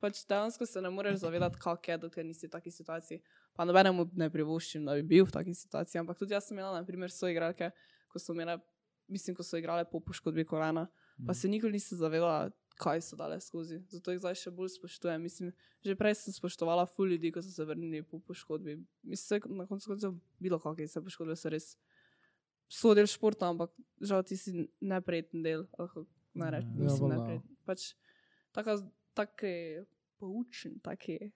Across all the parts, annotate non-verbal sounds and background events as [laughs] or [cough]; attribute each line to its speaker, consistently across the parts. Speaker 1: Pač dejansko se ne moreš zavedati, kak je, dokler nisi v taki situaciji. Pa nobenemu ne privoščim, da bi bil v taki situaciji. Ampak tudi jaz sem imela, na primer, soigralke, ko so imele, mislim, ko so igrale po poškodbi kolena,
Speaker 2: Mhm.
Speaker 1: pa se nikoli nisem zavedala, kaj so dale skozi. Zato jih zdaj še bolj spoštujem. Mislim, že prej sem spoštovala ful ljudi, ko so se vrnili po poškodbi. Mislim, saj na koncu koncev bilo kakšne se poškodbe so res. So del športa, ampak žal ti si nepreten del, lahko narečeš,
Speaker 2: Ja,
Speaker 1: mislim,
Speaker 2: valjda.
Speaker 1: nepreten. Pač taka, tak je poučen, tak je.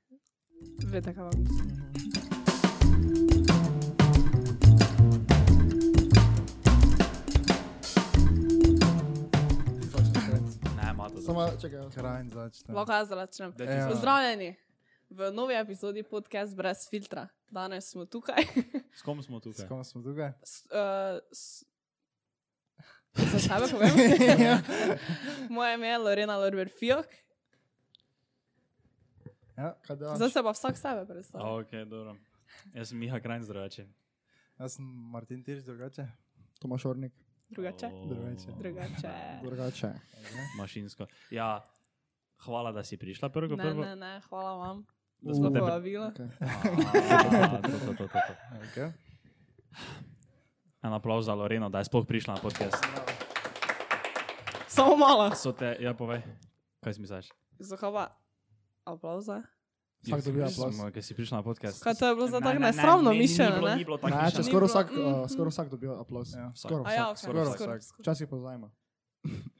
Speaker 1: Veste, kaj vam mislim.
Speaker 3: Ne, malo
Speaker 2: Samo čakaj, jaz-
Speaker 4: Krajn začne.
Speaker 1: Lahko jaz začnem.
Speaker 3: Da
Speaker 4: Ja.
Speaker 3: ti
Speaker 1: Pozdravljeni v novi epizodi podcast brez filtra. Danes smo tukaj.
Speaker 3: S kom smo tukaj?
Speaker 4: S kom smo tukaj?
Speaker 1: S, uh, s... Za sebe povem.
Speaker 4: ja.
Speaker 1: Moje ime je Lorena Lorber Fijok,
Speaker 4: ja.
Speaker 2: kaj delaš?
Speaker 1: zdaj se pa vsak sebe predstavlja.
Speaker 3: Ok, dobro. Jaz sem Miha Krajn zdravljači.
Speaker 4: Jaz sem Martin Tirš, drugače.
Speaker 2: Tomaš Ornik,
Speaker 1: Drugače.
Speaker 4: Drugače.
Speaker 1: Drugače.
Speaker 2: drugače.
Speaker 3: Mašinsko. Ja, hvala, da si prišla prvo.
Speaker 1: Ne,
Speaker 3: prvo.
Speaker 1: ne, ne, hvala vam.
Speaker 3: Da smo te pri-
Speaker 1: povabila.
Speaker 2: Okay.
Speaker 3: A, to, to, to, to, to.
Speaker 4: Okay.
Speaker 3: En aplauz za Loreno, da je sploh prišla na podcast.
Speaker 1: Samo malo.
Speaker 3: So te, ja, povej. Kaj si misliš?
Speaker 1: Zahava. Aplauza.
Speaker 2: Vsak dobi aplavz.
Speaker 3: Kaj si prišla na podcast?
Speaker 1: Kaj to je bilo za tako
Speaker 3: Ne, ne, ne,
Speaker 1: nesramno
Speaker 3: ne, ni-
Speaker 1: mišljeno,
Speaker 3: Ni bilo,
Speaker 1: ne?
Speaker 3: ni bilo tako
Speaker 2: Ne, če
Speaker 3: mišljeno.
Speaker 2: skoraj
Speaker 1: Ni bilo,
Speaker 2: vsak,
Speaker 1: mm,
Speaker 2: uh,
Speaker 1: mm.
Speaker 2: skoro vsak dobi aplavz.
Speaker 4: Ja.
Speaker 2: Skoro
Speaker 1: A ja,
Speaker 2: vsak.
Speaker 1: ok,
Speaker 4: skoraj
Speaker 1: skoraj.
Speaker 4: vsak.
Speaker 1: skoraj.
Speaker 2: Včasih pa zajema.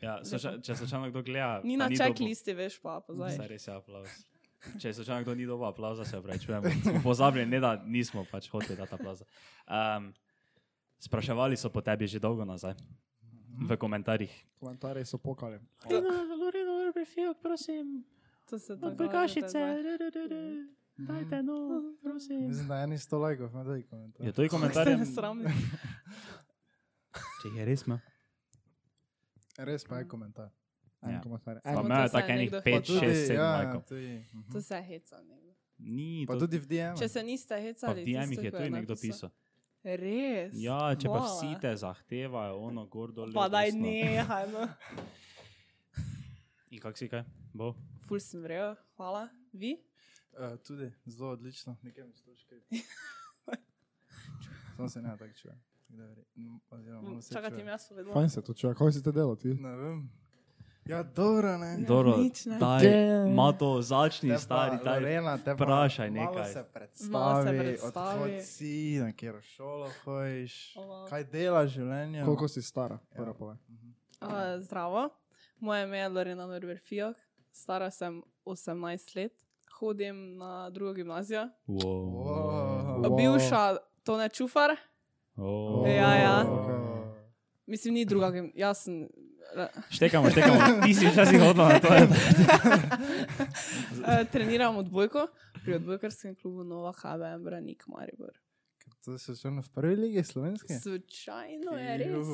Speaker 3: Ja, sluša- če se član kdo gleda.
Speaker 1: Ni
Speaker 3: pa
Speaker 1: na
Speaker 3: dobil-
Speaker 1: checklisti, veš pa,
Speaker 3: Saj
Speaker 1: pozaj.
Speaker 3: res je aplauz. [laughs] Če se član kdo ni dobil aplauza, se [laughs] opravičujemo. Smo Pozabili, ne da nismo pač hoteli dati aplauza. Um, spraševali so po tebi že dolgo nazaj. V komentarjih.
Speaker 2: Komentarji so
Speaker 1: [laughs]
Speaker 2: pokali.
Speaker 3: Lorino, Urbefijok, prosim,
Speaker 1: To Mm. se dogaja,
Speaker 3: odbojkašice,
Speaker 1: da-
Speaker 3: dajte no, prosim.
Speaker 4: Mislim, da je eni 100 lajkov, ima tudi komentar.
Speaker 3: Je to je komentarje?
Speaker 1: [laughs] Ste nesramni.
Speaker 3: Če je res, ima.
Speaker 4: Res pa je komentar.
Speaker 2: En
Speaker 3: Ja.
Speaker 2: komentar. En
Speaker 3: Pa
Speaker 1: Samo
Speaker 2: komentar.
Speaker 1: to
Speaker 3: imajo
Speaker 1: se
Speaker 3: tako
Speaker 1: je
Speaker 3: enih
Speaker 1: nekdo
Speaker 3: 5,
Speaker 1: hotel.
Speaker 3: 6, 7 lajkov.
Speaker 4: tudi. mhm.
Speaker 1: To se je hecanje.
Speaker 3: Ni,
Speaker 4: Ja. Pa
Speaker 3: to,
Speaker 4: tudi v DM.
Speaker 1: Če se niste
Speaker 3: pa
Speaker 1: hecali,
Speaker 3: v DM-ih
Speaker 1: tisto,
Speaker 3: je
Speaker 1: ko
Speaker 3: tudi nekdo
Speaker 1: napisal.
Speaker 3: pisal.
Speaker 1: Res.
Speaker 3: Ja, če pa
Speaker 1: Hvala.
Speaker 3: vsi te zahtevajo, ono gor dol.
Speaker 1: Pa
Speaker 3: levo,
Speaker 1: daj
Speaker 3: desno.
Speaker 1: nehaj. No.
Speaker 3: In kak si kaj? Bo?
Speaker 1: Ful sem vrel, hvala. Vi?
Speaker 4: Uh, tudi, zelo odlično. Nekaj mi sluška. Samo se ne tako čuje. Kdo je re- m,
Speaker 3: Ja,
Speaker 4: oziroma, malo se
Speaker 1: Čakaj, ti
Speaker 4: čuje.
Speaker 1: mi jaz povedala.
Speaker 2: Fajn se to čuje, kaj si te delal ti?
Speaker 4: Ne vem. Ja, dobro, ne.
Speaker 1: Ja,
Speaker 3: Dobro,
Speaker 1: nič ne.
Speaker 3: daj,
Speaker 2: Damn.
Speaker 3: Mato, začni,
Speaker 4: Te pa,
Speaker 3: stari, daj.
Speaker 4: Lorena, te pa
Speaker 3: vprašaj
Speaker 4: malo
Speaker 3: nekaj.
Speaker 1: Malo
Speaker 4: Se
Speaker 1: se
Speaker 4: predstavi,
Speaker 1: predstavi.
Speaker 4: odkud si, na katero šolo hojiš,
Speaker 1: O, wow.
Speaker 4: kaj delaš v življenju.
Speaker 2: Koliko si stara?
Speaker 3: Ja.
Speaker 2: Prvo pove.
Speaker 1: Uh, zdravo, moje ime je Lorena Norberfijok, stara sem 18 let, hodim na drugo gimnazijo.
Speaker 4: Wow.
Speaker 1: Wow. Bivša Tone Čufar,
Speaker 3: Wow.
Speaker 1: Ja, ja.
Speaker 2: Ok.
Speaker 1: mislim, ni druga gimnazija, jaz sem. re-
Speaker 3: Štekamo, štekamo. Ti si včasih hodila na to.
Speaker 1: Eh, treniram odbojko pri odbojkarskem klubu Nova HBM Branik Maribor.
Speaker 4: To si šel v prvi ligi slovenske?
Speaker 1: Slučajno je res.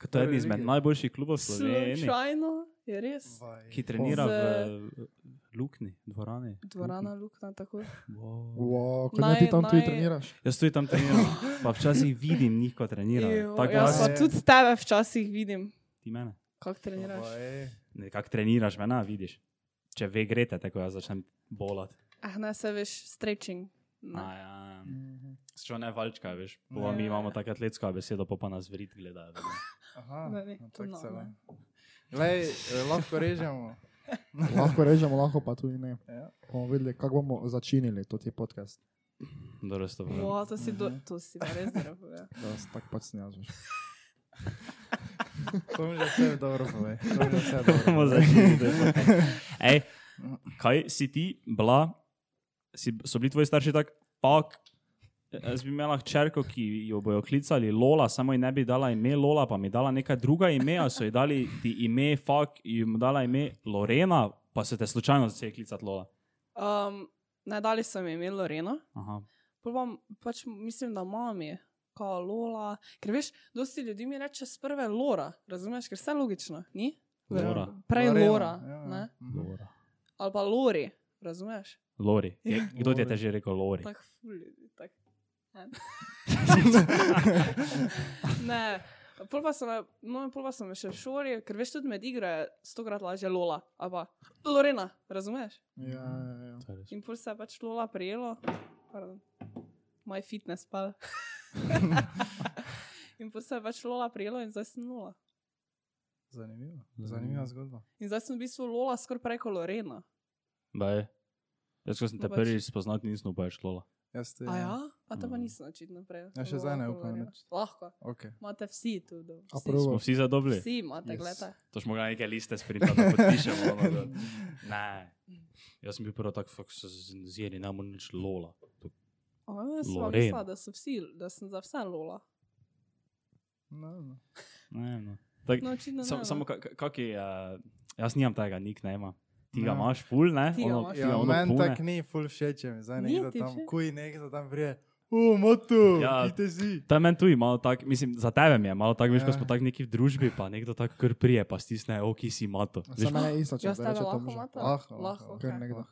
Speaker 3: Kot eden izmed najboljših klubov Slovenije,
Speaker 1: Slučajno je res.
Speaker 3: ki
Speaker 4: Hitro.
Speaker 3: trenira v
Speaker 1: Z-
Speaker 3: Lukni, dvorani.
Speaker 1: Dvorana Lukna tako.
Speaker 3: Wow.
Speaker 2: Wow, kaj
Speaker 1: Naj-
Speaker 2: ti tam tudi
Speaker 1: naj-
Speaker 2: treniraš?
Speaker 3: Jaz tudi tam treniram, pa včasih vidim njih, ko trenirajo.
Speaker 1: Jo,
Speaker 3: Tako da
Speaker 1: Jaz
Speaker 3: jaz...
Speaker 4: ja.
Speaker 1: pa tudi tebe včasih vidim,
Speaker 3: ti mene.
Speaker 1: kako treniraš.
Speaker 3: Nekako treniraš me, na vidiš. Če ve grete, tako jaz začnem bolat.
Speaker 1: Ah, ne, se veš, stretching. Ne.
Speaker 3: A Ja.
Speaker 1: Mhm.
Speaker 3: Še ne valčka, veš.
Speaker 4: Ja.
Speaker 3: Po, mi imamo tako atletsko besedo, pa pa nas vrit gledajo.
Speaker 4: Aha,
Speaker 1: Ne, ne,
Speaker 4: no,
Speaker 1: to
Speaker 4: tako
Speaker 1: no,
Speaker 4: se
Speaker 1: ne.
Speaker 4: ve. Glej, eh, lahko režemo.
Speaker 2: Lahko režemo, lahko pa tudi ne.
Speaker 4: Ja.
Speaker 2: Bomo videli, kako bomo začinili to ti podcast.
Speaker 3: Dobro, sto prav.
Speaker 1: Wow, to si, do, to si pa res ja. dobro povedal.
Speaker 2: Da, Tako pač sem jaz. veš.
Speaker 4: To mi že vse dobro pove. To mi že vse dobro
Speaker 3: Bomo
Speaker 4: [laughs] pove.
Speaker 3: začeli. da je to. Ej, kaj si ti bila, si, so bili tvoji starši tak, pak, jaz bi imela hčerko, ki jo bojo klicali Lola, samo ji ne bi dala ime Lola, pa mi dala neka druga imena, so ji dali ti ime, fak, jim dala ime Lorena, pa se te slučajno začeli klicati Lola.
Speaker 1: Um, ne, dali so mi ime Loreno,
Speaker 3: Aha.
Speaker 1: prvom pač mislim, da mami, kao Lola. Ker veš, dosti ljudi mi reče sprve Lora, razumeš, ker vse logično, ni?
Speaker 3: Lora.
Speaker 1: Prej
Speaker 4: Lorena,
Speaker 1: Lora,
Speaker 4: ja, ja.
Speaker 1: ne?
Speaker 4: Mhm. [laughs]
Speaker 3: Lora.
Speaker 1: ali pa Lori, razumeš?
Speaker 3: Lori. Je- Kdo ti je te
Speaker 4: Lori.
Speaker 3: že rekel Lori?
Speaker 1: Tako ful ljudi. Tak. Ne. ne, Pol pa sem, no, pol pa sem še v šoli, ker veš, tudi med igro je stokrat lažje Lola, a pa Lorena, razumeš?
Speaker 2: Ja, ja, ja.
Speaker 1: In pol se je pač Lola prijelo, pardon, moj fitness
Speaker 3: [laughs]
Speaker 1: pal. in pol se je pač Lola prijelo in zdaj sem Lola.
Speaker 4: Zanimivo. Zanimiva zgodba.
Speaker 1: In zdaj sem v bistvu Lola skoraj preko Lorena.
Speaker 3: Baj. Jaz, ko sem te
Speaker 1: No, pač.
Speaker 3: prvič spoznal, nisem upal šlola.
Speaker 4: Jaz te...
Speaker 1: A ja? A to pa
Speaker 3: Mm.
Speaker 1: nisem očitno prej.
Speaker 4: Ja, še
Speaker 1: Lola
Speaker 4: zdaj ne
Speaker 1: preko
Speaker 4: upam
Speaker 1: Lorena.
Speaker 4: nič.
Speaker 1: Lahko,
Speaker 4: Ok.
Speaker 1: imate vsi tu. do-
Speaker 2: A
Speaker 1: vsi.
Speaker 2: prav?
Speaker 3: Smo vsi zadobili?
Speaker 1: Vsi imate,
Speaker 4: Yes.
Speaker 1: yes. gledaj.
Speaker 3: To smo ga neke liste sprintali, da podpišemo. ono, da- Ne. Mm. Jaz sem bil prvo tako, kako se zjeri, ne morem nič lola. To-
Speaker 1: Jaz sem
Speaker 3: Lorena.
Speaker 1: mislila, da, so vsi, da sem za vse Lola.
Speaker 4: No, no.
Speaker 3: Ne, no. Tak,
Speaker 1: No, očitno ne.
Speaker 3: sam,
Speaker 1: no.
Speaker 3: samo ka- ka- kak je, uh, jaz nimam tega nicknama. Ti ga
Speaker 4: Ja.
Speaker 3: imaš, ful, ne?
Speaker 1: Ti ga
Speaker 3: Ono-
Speaker 1: imaš.
Speaker 3: ti ga
Speaker 4: Ja,
Speaker 3: ono
Speaker 4: meni
Speaker 3: pune.
Speaker 4: tak ni ful všeč, mi zdaj
Speaker 1: Ni
Speaker 4: nekdo
Speaker 1: ti
Speaker 4: tam,
Speaker 1: všeč?
Speaker 4: kuj nekdo tam prije. U, moto,
Speaker 3: Ja.
Speaker 4: ja. ki te si.
Speaker 3: To je meni tudi malo tako, mislim, za tebe mi je malo tako, veš, ko
Speaker 4: Ja.
Speaker 3: smo tako neki v družbi, pa nekdo tako kar prije, pa stisne, o, ki si mato. Veš,
Speaker 2: Za mene je isto, če
Speaker 1: Jaz
Speaker 2: se
Speaker 1: tebe Ja,
Speaker 2: reče
Speaker 1: lahko
Speaker 2: tam že.
Speaker 1: matam?
Speaker 4: Lahko,
Speaker 1: Lahko, ja.
Speaker 4: lahko.
Speaker 1: ok.
Speaker 2: ah, Ker nekdo.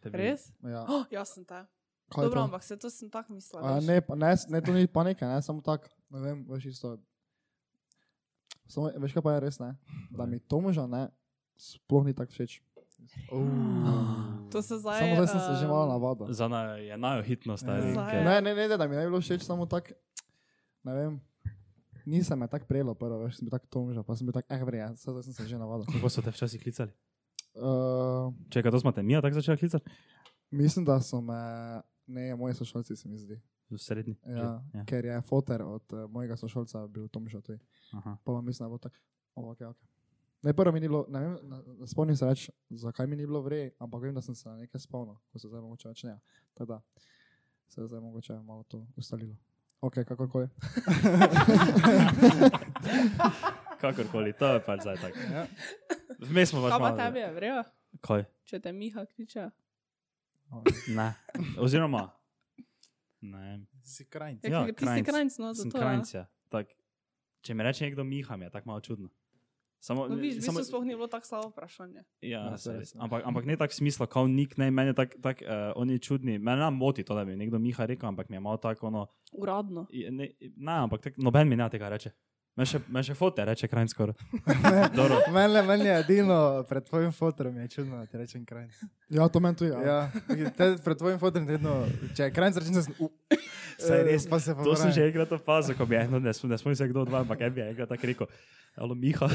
Speaker 3: tebi-
Speaker 1: Res? [gasps]
Speaker 2: Ja.
Speaker 1: Oh, jaz sem ta.
Speaker 2: Kaj je
Speaker 1: Dobro,
Speaker 2: to?
Speaker 1: ampak se to sem tako mislila.
Speaker 2: A,
Speaker 1: veš.
Speaker 2: ne, pa- ne, s- ne, to ni panika, ne, samo tako, ne vem, veš isto. Samo, veš kaj pa je res, ne? Da mi to moža, ne, sploh ni tako všeč.
Speaker 1: To se zdaj. eh,
Speaker 2: Samo zdaj sem se že malo
Speaker 1: em,
Speaker 2: navadil.
Speaker 3: Za naj je najo hitnost,
Speaker 4: Ja.
Speaker 3: ali
Speaker 1: Zdaj-
Speaker 3: kaj.
Speaker 2: Ne, ne, ne, da mi ne bi bilo všeč, samo tako, ne vem, nisem me tako prelo prvo, veš, sem bil tako tomža, pa sem bil tako, eh, vrije, zdaj sem se že navadil.
Speaker 3: Kako so te včasih klicali?
Speaker 2: Uh,
Speaker 3: Čekaj, to smo te mi ja tako začeli klicati?
Speaker 2: mislim, da so me, ne, ja, moji sošolci se mi zdi,
Speaker 3: V srednji.
Speaker 2: ja,
Speaker 3: Že?
Speaker 2: ja.
Speaker 3: ja.
Speaker 2: ker je foter od uh, mojega sošolca bil tomža tudi.
Speaker 3: Aha.
Speaker 2: Pa vam mislim, da bo tako. Oh, okay, okay. Ne, prvo mi ni bilo, ne vem, na- na- spomnim se več, zakaj mi ni bilo vrej, ampak vem, da sem se na nekaj spomnil, ko se zdaj mogoče več ne. Tako da se je zdaj mogoče malo to ustalilo. Ok, kakorkoli.
Speaker 3: Kakorkoli, to je pač zdaj tako.
Speaker 4: Ja.
Speaker 3: Vmes smo pač
Speaker 1: Kaj pa
Speaker 3: malo-
Speaker 1: tebi je, vrejo?
Speaker 3: Kaj?
Speaker 1: Če te Miha kliče.
Speaker 3: Ne. Oziroma, ne.
Speaker 4: Si krajnc.
Speaker 3: Ja,
Speaker 1: Ja, ti si
Speaker 3: krajnc.
Speaker 1: krajnc, no,
Speaker 3: Sem
Speaker 1: zato. ja.
Speaker 3: krajnc, ja. Tak, če mi reče nekdo Miha, mi je tako malo čudno. Samo,
Speaker 1: No, viš, v
Speaker 3: samo,
Speaker 1: bistvu sploh ni bilo tako slabo vprašanje.
Speaker 3: Ja,
Speaker 2: Ja,
Speaker 3: saj
Speaker 2: saj
Speaker 3: res.
Speaker 2: res.
Speaker 3: ampak, ampak ne tako smisla, kot nik, ne, meni je tako, tak, uh, on je čudni, meni nam moti to, da bi nekdo Miha rekel, ampak mi je malo tako, ono,
Speaker 1: Uradno.
Speaker 3: je- ne, ne ampak tak, noben mi ne tega reče. Me še, me še fote reče krajn [laughs] skoro. Dobro.
Speaker 4: Mene, meni je edino pred tvojim fotom je čudno, da ti rečem krajnc.
Speaker 2: Ja, to meni tudi. Ja. Ja.
Speaker 4: Ja, te, pred tvojim fotom je vedno, če je krajnc, rečem, da sem u.
Speaker 3: Saj
Speaker 4: Eh,
Speaker 3: res,
Speaker 4: pa se pa
Speaker 3: To sem že enkrat opazil, ko bi eno, ne, sp- ne spomnim se kdo od vas, ampak en bi enkrat tako rekel, alo [laughs] Miha.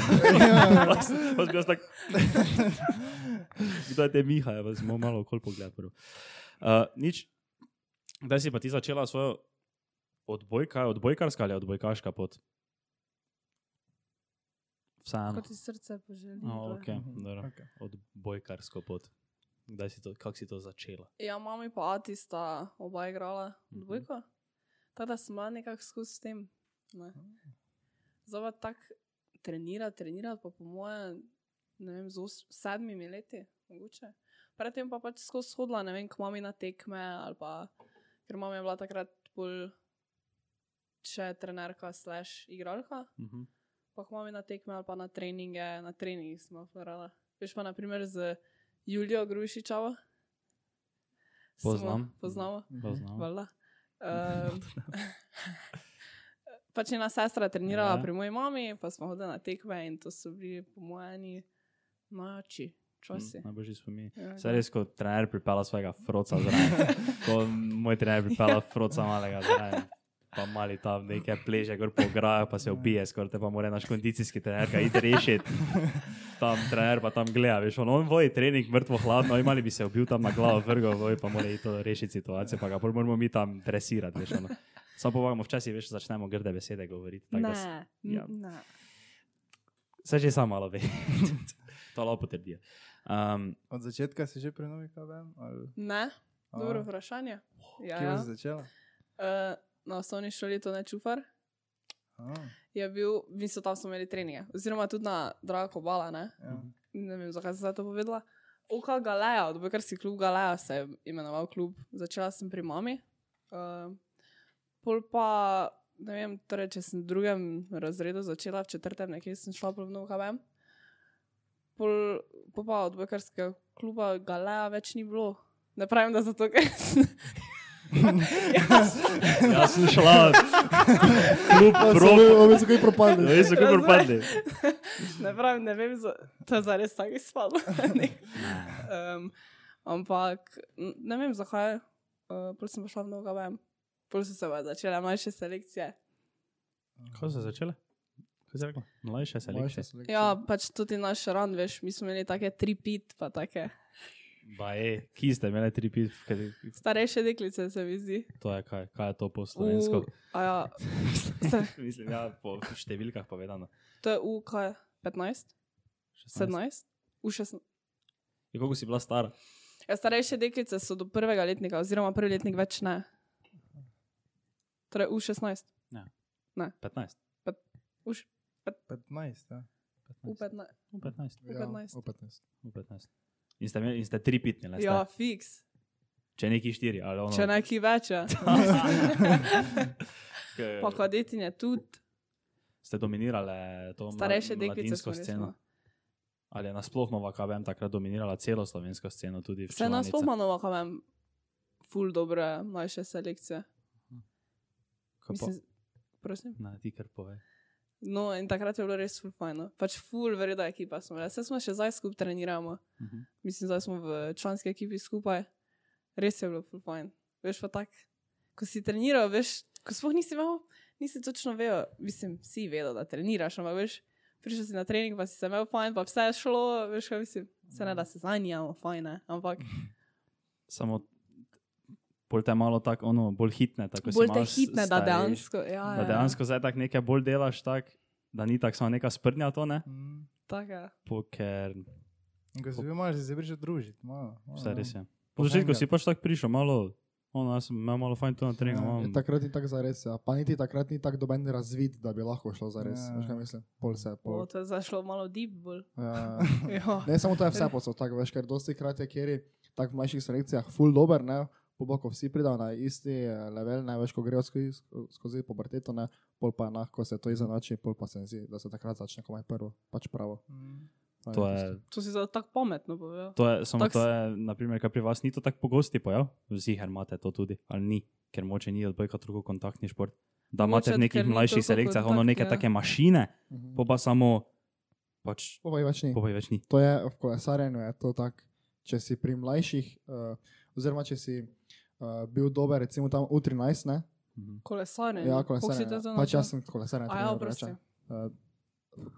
Speaker 3: Pa sem- pa sem bil jaz tako,
Speaker 4: [laughs]
Speaker 3: Kdo je te Miha, ja, smo malo okol pogled. Uh, nič, kdaj si pa ti začela svojo odbojka, odbojkarska ali odbojkaška pot? Vseeno.
Speaker 1: Kot iz srca poželim.
Speaker 3: Oh,
Speaker 1: Okay.
Speaker 3: okay,
Speaker 4: Mhm.
Speaker 3: dobro.
Speaker 4: Okay.
Speaker 3: Odbojkarsko pot. Kdaj si to, kako si to začela?
Speaker 1: Ja, mama in pa ati sta oba igrala
Speaker 3: Mhm.
Speaker 1: dvojko. Tako da sem bila nekako skozi s tem. ne. Zdaj pa tako trenirati, trenirati pa po mojem, ne vem, z os- sedmimi leti, mogoče. Predtem pa pač skozi hodila, ne vem, k mami na tekme ali pa, ker mama je bila takrat bolj še trenerka slash igralka.
Speaker 3: Uh -huh.
Speaker 1: pa k mami na tekme ali pa na treninge, na treningih smo farala. Veš pa naprimer z Julijo Grušičavo. Smo-
Speaker 3: Poznam. No.
Speaker 1: Poznamo,
Speaker 3: Poznam. [laughs]
Speaker 1: valjda. Um, [laughs] pač njena sestra je trenirala
Speaker 3: Ja.
Speaker 1: ja. pri moji mami, pa smo hodili na tekme in to so bili po mojeni noči,
Speaker 3: Mhm.
Speaker 1: časi.
Speaker 3: Najboljši spomin.
Speaker 1: Ja,
Speaker 3: Se Mm, no. res, ko trener pripela svojega froca zraven, ko moj trener pripela froca malega zraven. Pa mali tam nekaj pleže, gor po graju, pa se ubije, skoraj te pa mora naš kondicijski trener kaj iti
Speaker 4: [laughs]
Speaker 3: rešiti. Tam trener pa tam gleda, veš, on, on voji trening mrtvo hladno, imali bi se ubil tam na glavo, vrgo, voj pa mora iti to rešiti situacijo, pa ga pol moramo mi tam dresirati, veš, ono. Samo povabimo, včasih veš, začnemo grde besede govoriti. tako da s-
Speaker 1: Ne,
Speaker 3: ja.
Speaker 1: ja. ne.
Speaker 3: Se že sam malo ve. [laughs] to lahko potrdi. [laughs] Um,
Speaker 4: Od začetka si že pri novi KBM? Ali...
Speaker 1: ne, dobro
Speaker 4: A,
Speaker 1: vprašanje. Ja,
Speaker 4: Kje
Speaker 1: ja.
Speaker 4: si začela?
Speaker 1: Uh, na osnovni šoli to ne čufar.
Speaker 4: A,
Speaker 1: je bil, mi so tam smo imeli treninge, oziroma tudi na Drago Bala, ne?
Speaker 4: ja. [laughs]
Speaker 1: ne vem, zakaj sem zdaj to povedala. Oka Galeja, odbojkarski klub Galeja se je imenoval klub, začela sem pri mami. Uh, pol pa, ne vem, torej, če sem v drugem razredu začela, v četrtem nekje sem šla pol v NKVM. Pol, pol pa odbojkarskega kluba Galeja več ni bilo. Ne pravim, da zato, ker sem [laughs] Ja,
Speaker 3: Jaz sem šla, kljub probu.
Speaker 2: Obe so kaj propadli.
Speaker 3: Veš, kako
Speaker 1: Razumem.
Speaker 3: propadli.
Speaker 1: [laughs] Ne pravim, ne vem, za, to je zares tako izpadlo. [laughs] um, ampak n- ne vem zakaj, uh, prvo sem pa šla v mnogo vem. Prvo so se pa začele mlajše selekcije.
Speaker 3: Kako so začele? Kaj si rekla? Mlajše se leče.
Speaker 1: Ja, pač tudi naš ran, veš, mi smo imeli take tri pit, pa take
Speaker 3: Baje, ki ste imeli tri pit,
Speaker 1: starejše deklice, se mi zdi.
Speaker 3: to je kaj, kaj je to po slovensko.
Speaker 1: U, a ja, [laughs] se,
Speaker 3: [laughs] Mislim, ja, po številkah povedano.
Speaker 1: to je U, kaj je, 15, 17, U 16.
Speaker 3: Je, Koliko si bila stara?
Speaker 1: Ja, starejše deklice so do prvega letnika, oziroma prvi letnik več ne. Torej U16,
Speaker 3: 15.
Speaker 1: Uš,
Speaker 4: 15, ja.
Speaker 1: U15. v
Speaker 3: U 15.
Speaker 1: 15.
Speaker 2: v 15.
Speaker 3: U 15. In ste, imeli, in ste tri pitni, ne?
Speaker 1: Ja,
Speaker 3: Ja.
Speaker 1: fiks.
Speaker 3: Če neki štiri, ali ono.
Speaker 1: Če neki več,
Speaker 3: [laughs]
Speaker 1: ja.
Speaker 3: Ke-
Speaker 1: [laughs] pa kadetinje tudi,
Speaker 3: Ste dominirali to mla-
Speaker 1: starejše deklice smo
Speaker 3: mladinsko
Speaker 1: no.
Speaker 3: sceno.
Speaker 1: resno.
Speaker 3: Ali je nasploh nova KBM takrat dominirala celo slovensko sceno? tudi v
Speaker 1: Vse nas
Speaker 3: članice?
Speaker 1: pomanova, kaj vem, no, ful dobre mlajše selekcije.
Speaker 3: Kaj pa-
Speaker 1: Mislim, prosim.
Speaker 3: Na ti kar pove.
Speaker 1: No, in takrat je bilo res ful fajno. Pač ful verjeda ekipa smo. bile. Saj smo še zdaj skupaj treniramo.
Speaker 3: Mhm.
Speaker 1: Mislim, zdaj smo v članski ekipi skupaj. Res je bilo ful fajn. Veš pa tak, ko si treniral, veš, ko sploh nisi imel, nisi točno vedel, mislim, si vedel, da treniraš, ampak veš, prišel si na trening, pa si se imel fajn, pa vse je šlo, veš, kaj mislim. Se ne da se zanjamo, fajn, ne, ampak
Speaker 3: Samo bolj te malo tako, ono, bolj hitne. Tako, ko si
Speaker 1: bolj te
Speaker 3: malo s-
Speaker 1: hitne, da
Speaker 3: starejši,
Speaker 1: dejansko, ja,
Speaker 3: Da dejansko zdaj tako nekaj bolj delaš, tak, da ni tako samo neka sprnja to, ne?
Speaker 4: Mm.
Speaker 1: Tako je.
Speaker 3: Po, ker
Speaker 4: In Ko si bil malo, si se prišel družiti, malo. malo,
Speaker 3: vse res je.
Speaker 4: ja.
Speaker 3: Po začetku
Speaker 4: Pohangati.
Speaker 3: si pač tako prišel, malo, ono, jaz sem imel malo fajn to na treningu.
Speaker 2: Ja,
Speaker 3: malo-
Speaker 2: je Takrat je tako zares, ja. pa niti takrat ni tako doben razvid, da bi lahko šlo zares.
Speaker 4: Ja.
Speaker 2: Veš kaj mislim? Pol se,
Speaker 1: O,
Speaker 2: pol.
Speaker 1: to je zašlo malo deep bolj.
Speaker 2: Ja.
Speaker 1: Ja.
Speaker 2: Ne samo to je vse posod, tako veš, ker dosti krat je, kjer je tako v mlajših selekcijah full dober, ne, pobako vsi pridajo na isti eh, level, ne veš, ko grejo skozi, skozi puberteto, ne, pol pa enako se to izenači, pol pa se mi zdi, da se takrat začne komaj prvo, pač pravo.
Speaker 4: Mm.
Speaker 2: Fajn,
Speaker 3: To je,
Speaker 1: To si zdaj tako pametno povedal.
Speaker 3: to je, samo
Speaker 1: Tako
Speaker 3: to
Speaker 1: s-
Speaker 3: je, naprimer, kar pri vas ni to tako pogosti pojav, ziher imate to tudi, ali ni, ker moče ni odbojka drugo kontaktni šport. Da imate
Speaker 1: Mogoče,
Speaker 3: v nekih
Speaker 1: ker ni
Speaker 3: mlajših
Speaker 1: toliko
Speaker 3: selekcijah
Speaker 1: kontakt,
Speaker 3: ono neke
Speaker 1: ja.
Speaker 3: take mašine,
Speaker 2: Mhm.
Speaker 3: pa pa samo, pač,
Speaker 2: Po pa je več ni.
Speaker 3: pa pa je več ni.
Speaker 2: To je v kolesarjenju, je to tako, če si pri mlajših, uh, oziroma če si uh, bil dober, recimo tam U13, ne?
Speaker 3: Mhm.
Speaker 1: Kolesarjenje.
Speaker 2: Ja,
Speaker 1: Kako si
Speaker 2: kolesarjenje.
Speaker 1: to
Speaker 2: ja.
Speaker 1: zelo
Speaker 2: Pač
Speaker 1: napisal?
Speaker 2: jaz sem kolesarjenje.
Speaker 1: A ja, oprosti. Da,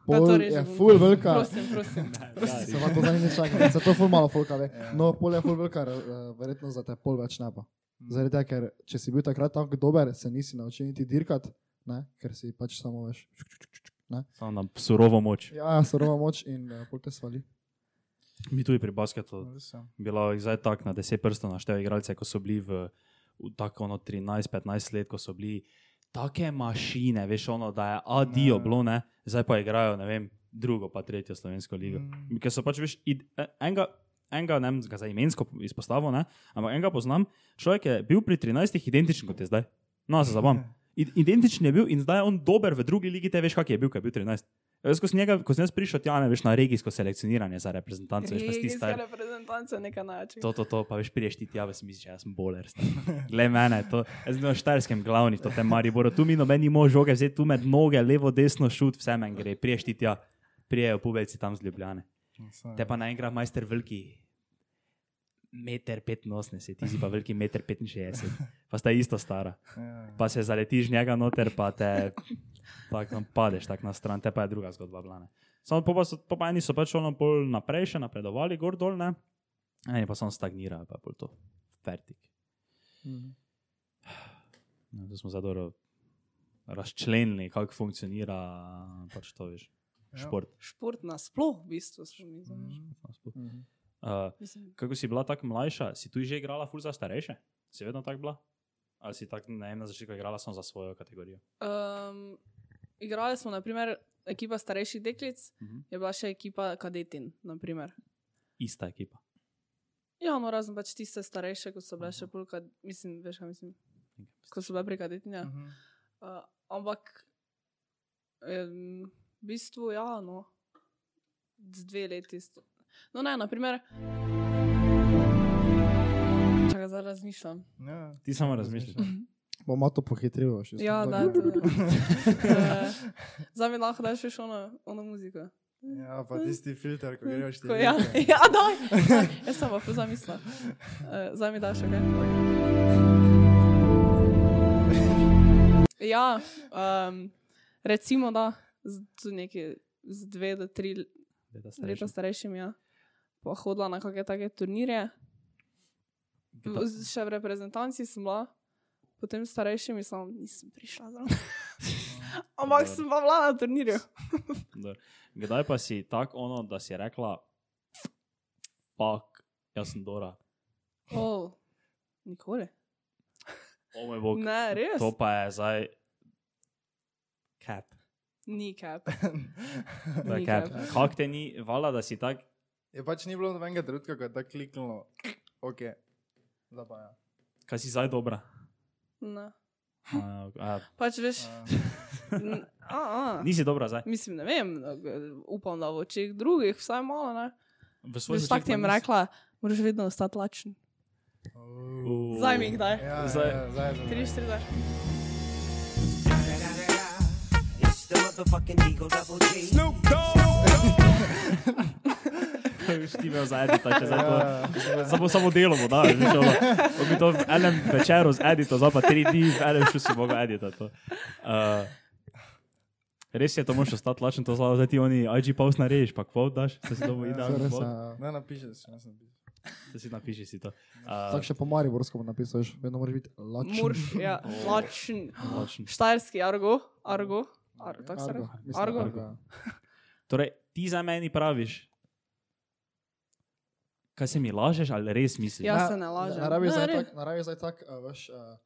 Speaker 2: Pol
Speaker 1: torej že
Speaker 2: je
Speaker 1: bom-
Speaker 2: ful velika.
Speaker 1: Prosim, prosim.
Speaker 3: Ja,
Speaker 2: Se vam to zdaj ne čaka, zato ful malo folka ve.
Speaker 4: Ja.
Speaker 2: No, pol je ful velika, eh, verjetno za te pol več ne bo.
Speaker 1: Mm.
Speaker 2: Zaradi tega, ker če si bil takrat tako dober, se nisi naučil niti dirkat, ne? ker si pač samo veš.
Speaker 3: Samo na surovo moč.
Speaker 2: Ja, surova moč in uh, pol te svali.
Speaker 3: Mi tudi pri basketu
Speaker 4: Res je.
Speaker 3: bilo zdaj tako na deset prstov naštejo igralce, ko so bili v, v tako ono 13-15 let, ko so bili take mašine, veš ono, da je adijo
Speaker 4: Ja.
Speaker 3: bilo, ne, zdaj pa igrajo, ne vem, drugo pa tretjo slovensko ligo.
Speaker 4: Mm.
Speaker 3: Ker so pač veš, id, e- enega, enega ne vem, ga za imensko izpostavil, ne, ampak enega poznam, človek je bil pri 13 identičen kot je zdaj. No, se
Speaker 4: [laughs]
Speaker 3: zabavam.
Speaker 4: Mm.
Speaker 3: I- Identičen je bil in zdaj je on dober v drugi ligi, te veš, kak je bil, kaj je bil 13. Jaz, ko sem njega, ko sem jaz prišel, tja ne veš na regijsko selekcioniranje za reprezentanco, veš pa si ti
Speaker 1: Regijska
Speaker 3: star.
Speaker 1: reprezentanca nekaj način.
Speaker 3: To, to, to, pa veš, prideš ti tja, veš, misliš, "Ja, jaz sem boler. star. Glej mene, to, jaz sem na Štajerskem glavni, to te Maribor, tu mi noben ni mož žoge, vzeti tu med noge, levo, desno, šut, vse meni gre, prideš ti tja, prijejo pubeci tam z Ljubljane. Te pa naenkrat majster veliki, meter 85, ti si pa veliki meter 65, pa sta isto stara. Pa se zaletiš njega noter, pa te tako tam padeš tako na stran, te pa je druga zgodba blane. Samo po pa, so, po pa eni so pač ono bolj naprej še napredovali, gor dol, ne? Eni pa samo stagnirajo, pa bolj to. Fertik.
Speaker 1: Mhm.
Speaker 3: No, to smo zdaj dobro razčlenili, kako funkcionira pač to, veš, šport.
Speaker 1: Šport nasploh, v bistvu. smo mi za-
Speaker 3: Mm.
Speaker 1: Mhm.
Speaker 3: Uh,
Speaker 1: Mislim,
Speaker 3: Kako si bila tako mlajša, si tu že igrala ful za starejše? Si vedno tako bila? Ali si tako ne vem, na začetku igrala samo za svojo kategorijo?
Speaker 1: Um, igrali smo, naprimer, ekipa starejših deklic,
Speaker 3: Mhm.
Speaker 1: je bila še ekipa kadetin. Naprimer.
Speaker 3: Ista ekipa.
Speaker 1: Ja, no, razen pač tiste starejše, ko so bile še polka, mislim, veš, kaj mislim, ko so bile pri kadetinja.
Speaker 3: Mhm.
Speaker 4: Mhm.
Speaker 1: Uh, ampak, um, v bistvu, ja, no, z dve leti. st- No, ne, naprimer. Čakaj, zaraz razmišljam.
Speaker 4: Ja.
Speaker 3: Ti samo razmišljaš.
Speaker 2: Bomo to pohitrili, še
Speaker 1: Ja, da. da, da. Zdaj mi lahko daš še ono, ono muziko.
Speaker 4: Ja, pa tisti filter, ko greš ti.
Speaker 1: Ko, ja, [laughs] ja, daj. daj. Jaz sem pa pozamislila. Eh, Zdaj mi daš še kaj. Ja, um, recimo da, z, z neki z dve do tri leta starejšim, ja. Pa hodila na kakšne take turnirje. M, z- Še v reprezentanci sem bila, potem starejšim in sem, nisem prišla zraven. Ampak sem pa bila na turnirju.
Speaker 3: Dobro. Kdaj pa si tako ono, da si rekla, fuck, jaz sem Dora,
Speaker 1: Oh, nikoli.
Speaker 3: o moj bog.
Speaker 1: Ne, res.
Speaker 3: To pa je zdaj cap.
Speaker 1: Ni cap.
Speaker 3: To je
Speaker 1: Ni
Speaker 3: cap.
Speaker 1: cap.
Speaker 3: Kak te ni, vala, da si tak,
Speaker 4: Je pač ni bilo nobenega trenutka, ko je tako kliknilo. Ok, zdaj pa ja.
Speaker 3: kaj si zdaj dobra.
Speaker 1: Ne.
Speaker 3: A, a,
Speaker 1: Pač veš,
Speaker 4: Ja.
Speaker 1: n- a, a.
Speaker 3: [laughs] nisi dobra zdaj.
Speaker 1: mislim, ne vem, no, g- upam, da v očeh drugih, vsaj malo. ne.
Speaker 3: V svoji
Speaker 1: Veš, Tako ti je rekla, moraš vedno ostati lačen. Zdaj mi kdaj.
Speaker 4: Ja, ja,
Speaker 3: Zdaj-
Speaker 4: ja, zdaj je že.
Speaker 1: 43.
Speaker 5: It's the motherfucking Eagle Double G.
Speaker 3: [laughs] Ti me zaedi, tako če zdaj to.
Speaker 4: Ja, ja.
Speaker 3: Samo, samo delamo, da je šlo. Ko bi to v enem večeru z edito, zdaj pa tri dni v enem še si mogel editati. to. Uh, res je, to moraš ostati lačen, to zlavo, zdaj ti oni IG post narediš, pa kvot daš, da si dobo idealno.
Speaker 2: ja.
Speaker 4: Ne napišeš, še nisem napisal.
Speaker 3: Da si napiši si to.
Speaker 2: Tako
Speaker 3: Uh,
Speaker 2: še po Mariborsku bom napisal, veš, vedno moraš biti lačen.
Speaker 1: Moraš, ja, lačen.
Speaker 3: lačen.
Speaker 1: Štajerski argo, argo. Argo, tako se
Speaker 2: Argo.
Speaker 1: reče.
Speaker 2: mislim,
Speaker 1: Argo.
Speaker 2: ja.
Speaker 3: Torej, ti za meni praviš. Kaj se mi lažeš ali res misliš?
Speaker 1: Ja,
Speaker 2: Na-
Speaker 1: se ne lažem.
Speaker 2: Naravi
Speaker 1: Ne,
Speaker 2: zdaj
Speaker 1: res.
Speaker 2: tak- naravi zdaj tako, veš, eh,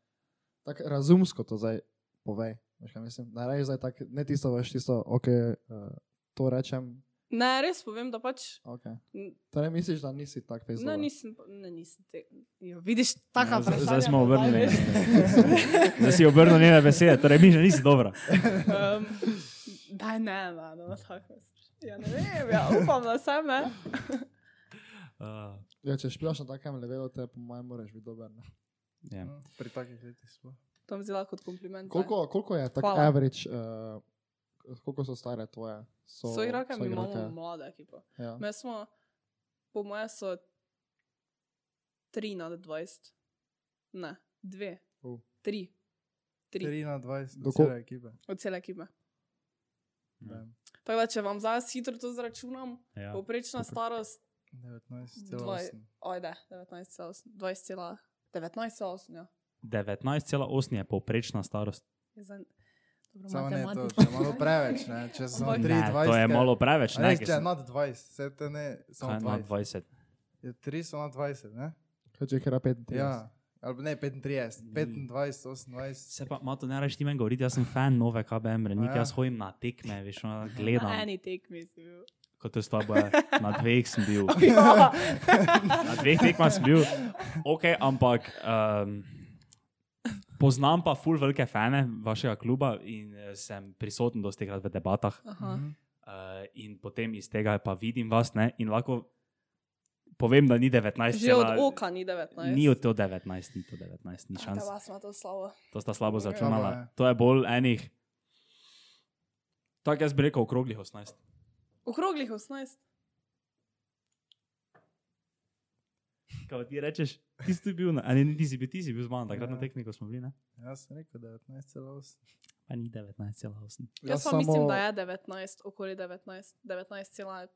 Speaker 2: tako razumsko to zdaj povej. Veš, kaj mislim? Naravi zdaj tako, ne tisto, veš, tisto, ok, eh, to rečem.
Speaker 1: Ne, res povem, da pač.
Speaker 2: Okay.
Speaker 1: n-
Speaker 2: Torej misliš, da nisi tak fejzel?
Speaker 1: Ne, nisem, pa- ne, nisem te. Jo, vidiš, taka
Speaker 3: Ja, zdaj-
Speaker 1: vprašanja.
Speaker 3: Zdaj smo
Speaker 1: pa
Speaker 3: obrnili.
Speaker 1: veš. [laughs]
Speaker 3: [laughs] Zdaj si obrnil njene besede, torej mi že nisi dobra.
Speaker 1: Um, da, ne, no, no, tako. Ja, ne vem, ja, upam, da sem, ne.
Speaker 3: Uh,
Speaker 2: Ja, če špilaš na takem levelu, te po mojem moraš biti dober. ne.
Speaker 3: yeah.
Speaker 4: Hm, Pri takih letih smo.
Speaker 1: To bom vzela kot kompliment.
Speaker 2: Koliko, koliko je tako
Speaker 1: Hvala.
Speaker 2: average, uh, koliko so stare tvoje? So,
Speaker 1: So igralke, mi imamo
Speaker 2: soigralke?
Speaker 1: mlade ekipo.
Speaker 2: Ja.
Speaker 1: Mi smo, po mojem, so 3 na 20. Ne, 2.
Speaker 2: U.
Speaker 1: 3. 3
Speaker 4: 3 na 20,
Speaker 2: Do
Speaker 4: do
Speaker 2: ko-
Speaker 4: cele
Speaker 3: Ja.
Speaker 4: ekipe.
Speaker 1: od cele ekipe.
Speaker 4: Ne,
Speaker 1: Tako da, če vam zdaj jaz hitro to zračunam,
Speaker 3: ja.
Speaker 1: povprečna starost,
Speaker 4: 19,8.
Speaker 1: ojde, 19,8, 20,8, 19,8, ja.
Speaker 3: 19,8 je povprečna starost.
Speaker 1: Je zdaj- dobro,
Speaker 4: Samo ne, to
Speaker 1: matematika.
Speaker 4: je malo preveč,
Speaker 1: [laughs]
Speaker 4: ne? če so
Speaker 1: Ampak-
Speaker 4: 23.
Speaker 3: Ne, to je malo preveč. Ne,
Speaker 4: preveč.
Speaker 3: ker
Speaker 4: Če je
Speaker 3: sem-
Speaker 4: nad 20, se te ne,
Speaker 3: kaj
Speaker 4: samo
Speaker 3: je nad
Speaker 4: 20.
Speaker 3: 20.
Speaker 4: Je 3 so nad 20, ne?
Speaker 2: Kaj če jih igra 35?
Speaker 4: Ja, ali ne 35, 25, 28.
Speaker 3: Se pa, mato, ne rečeš ti meni govoriti, jaz sem fan nove KBM, renik,
Speaker 4: Ja.
Speaker 3: jaz hojim na tekme, veš, ono,
Speaker 1: Na
Speaker 3: gledam,
Speaker 1: eni tekmi si
Speaker 3: [laughs]
Speaker 1: bil.
Speaker 3: kot to s tabo je. Na dveh sem bil.
Speaker 1: Ja.
Speaker 3: Na dveh tekmah sem bil, ok, ampak um, poznam pa full velike fane vašega kluba in eh, sem prisoten dosti krat v debatah.
Speaker 1: Aha.
Speaker 4: Mhm.
Speaker 3: Uh, in potem iz tega pa vidim vas ne, in lahko povem, da ni 19.
Speaker 1: Že od oka ni 19.
Speaker 3: Ni od to 19, ni to 19, ni šans.
Speaker 1: Teba smo to slavo.
Speaker 3: To sta slabo
Speaker 4: Slabo
Speaker 3: zračunala.
Speaker 4: je.
Speaker 3: To je bolj enih. Tako jaz bi rekel, okroglih 18.
Speaker 1: Okroglih 18.
Speaker 3: Kaj ti rečeš, ti si bil na, ali nisi bil, ti si bil z mano, takrat
Speaker 4: Ja.
Speaker 3: na tehniko smo bili, ne?
Speaker 4: Jaz Ja, sem rekel 19,8.
Speaker 3: Pa ni 19,8.
Speaker 1: Jaz, Jaz pa samo... mislim, da je 19, okoli 19, 19,1,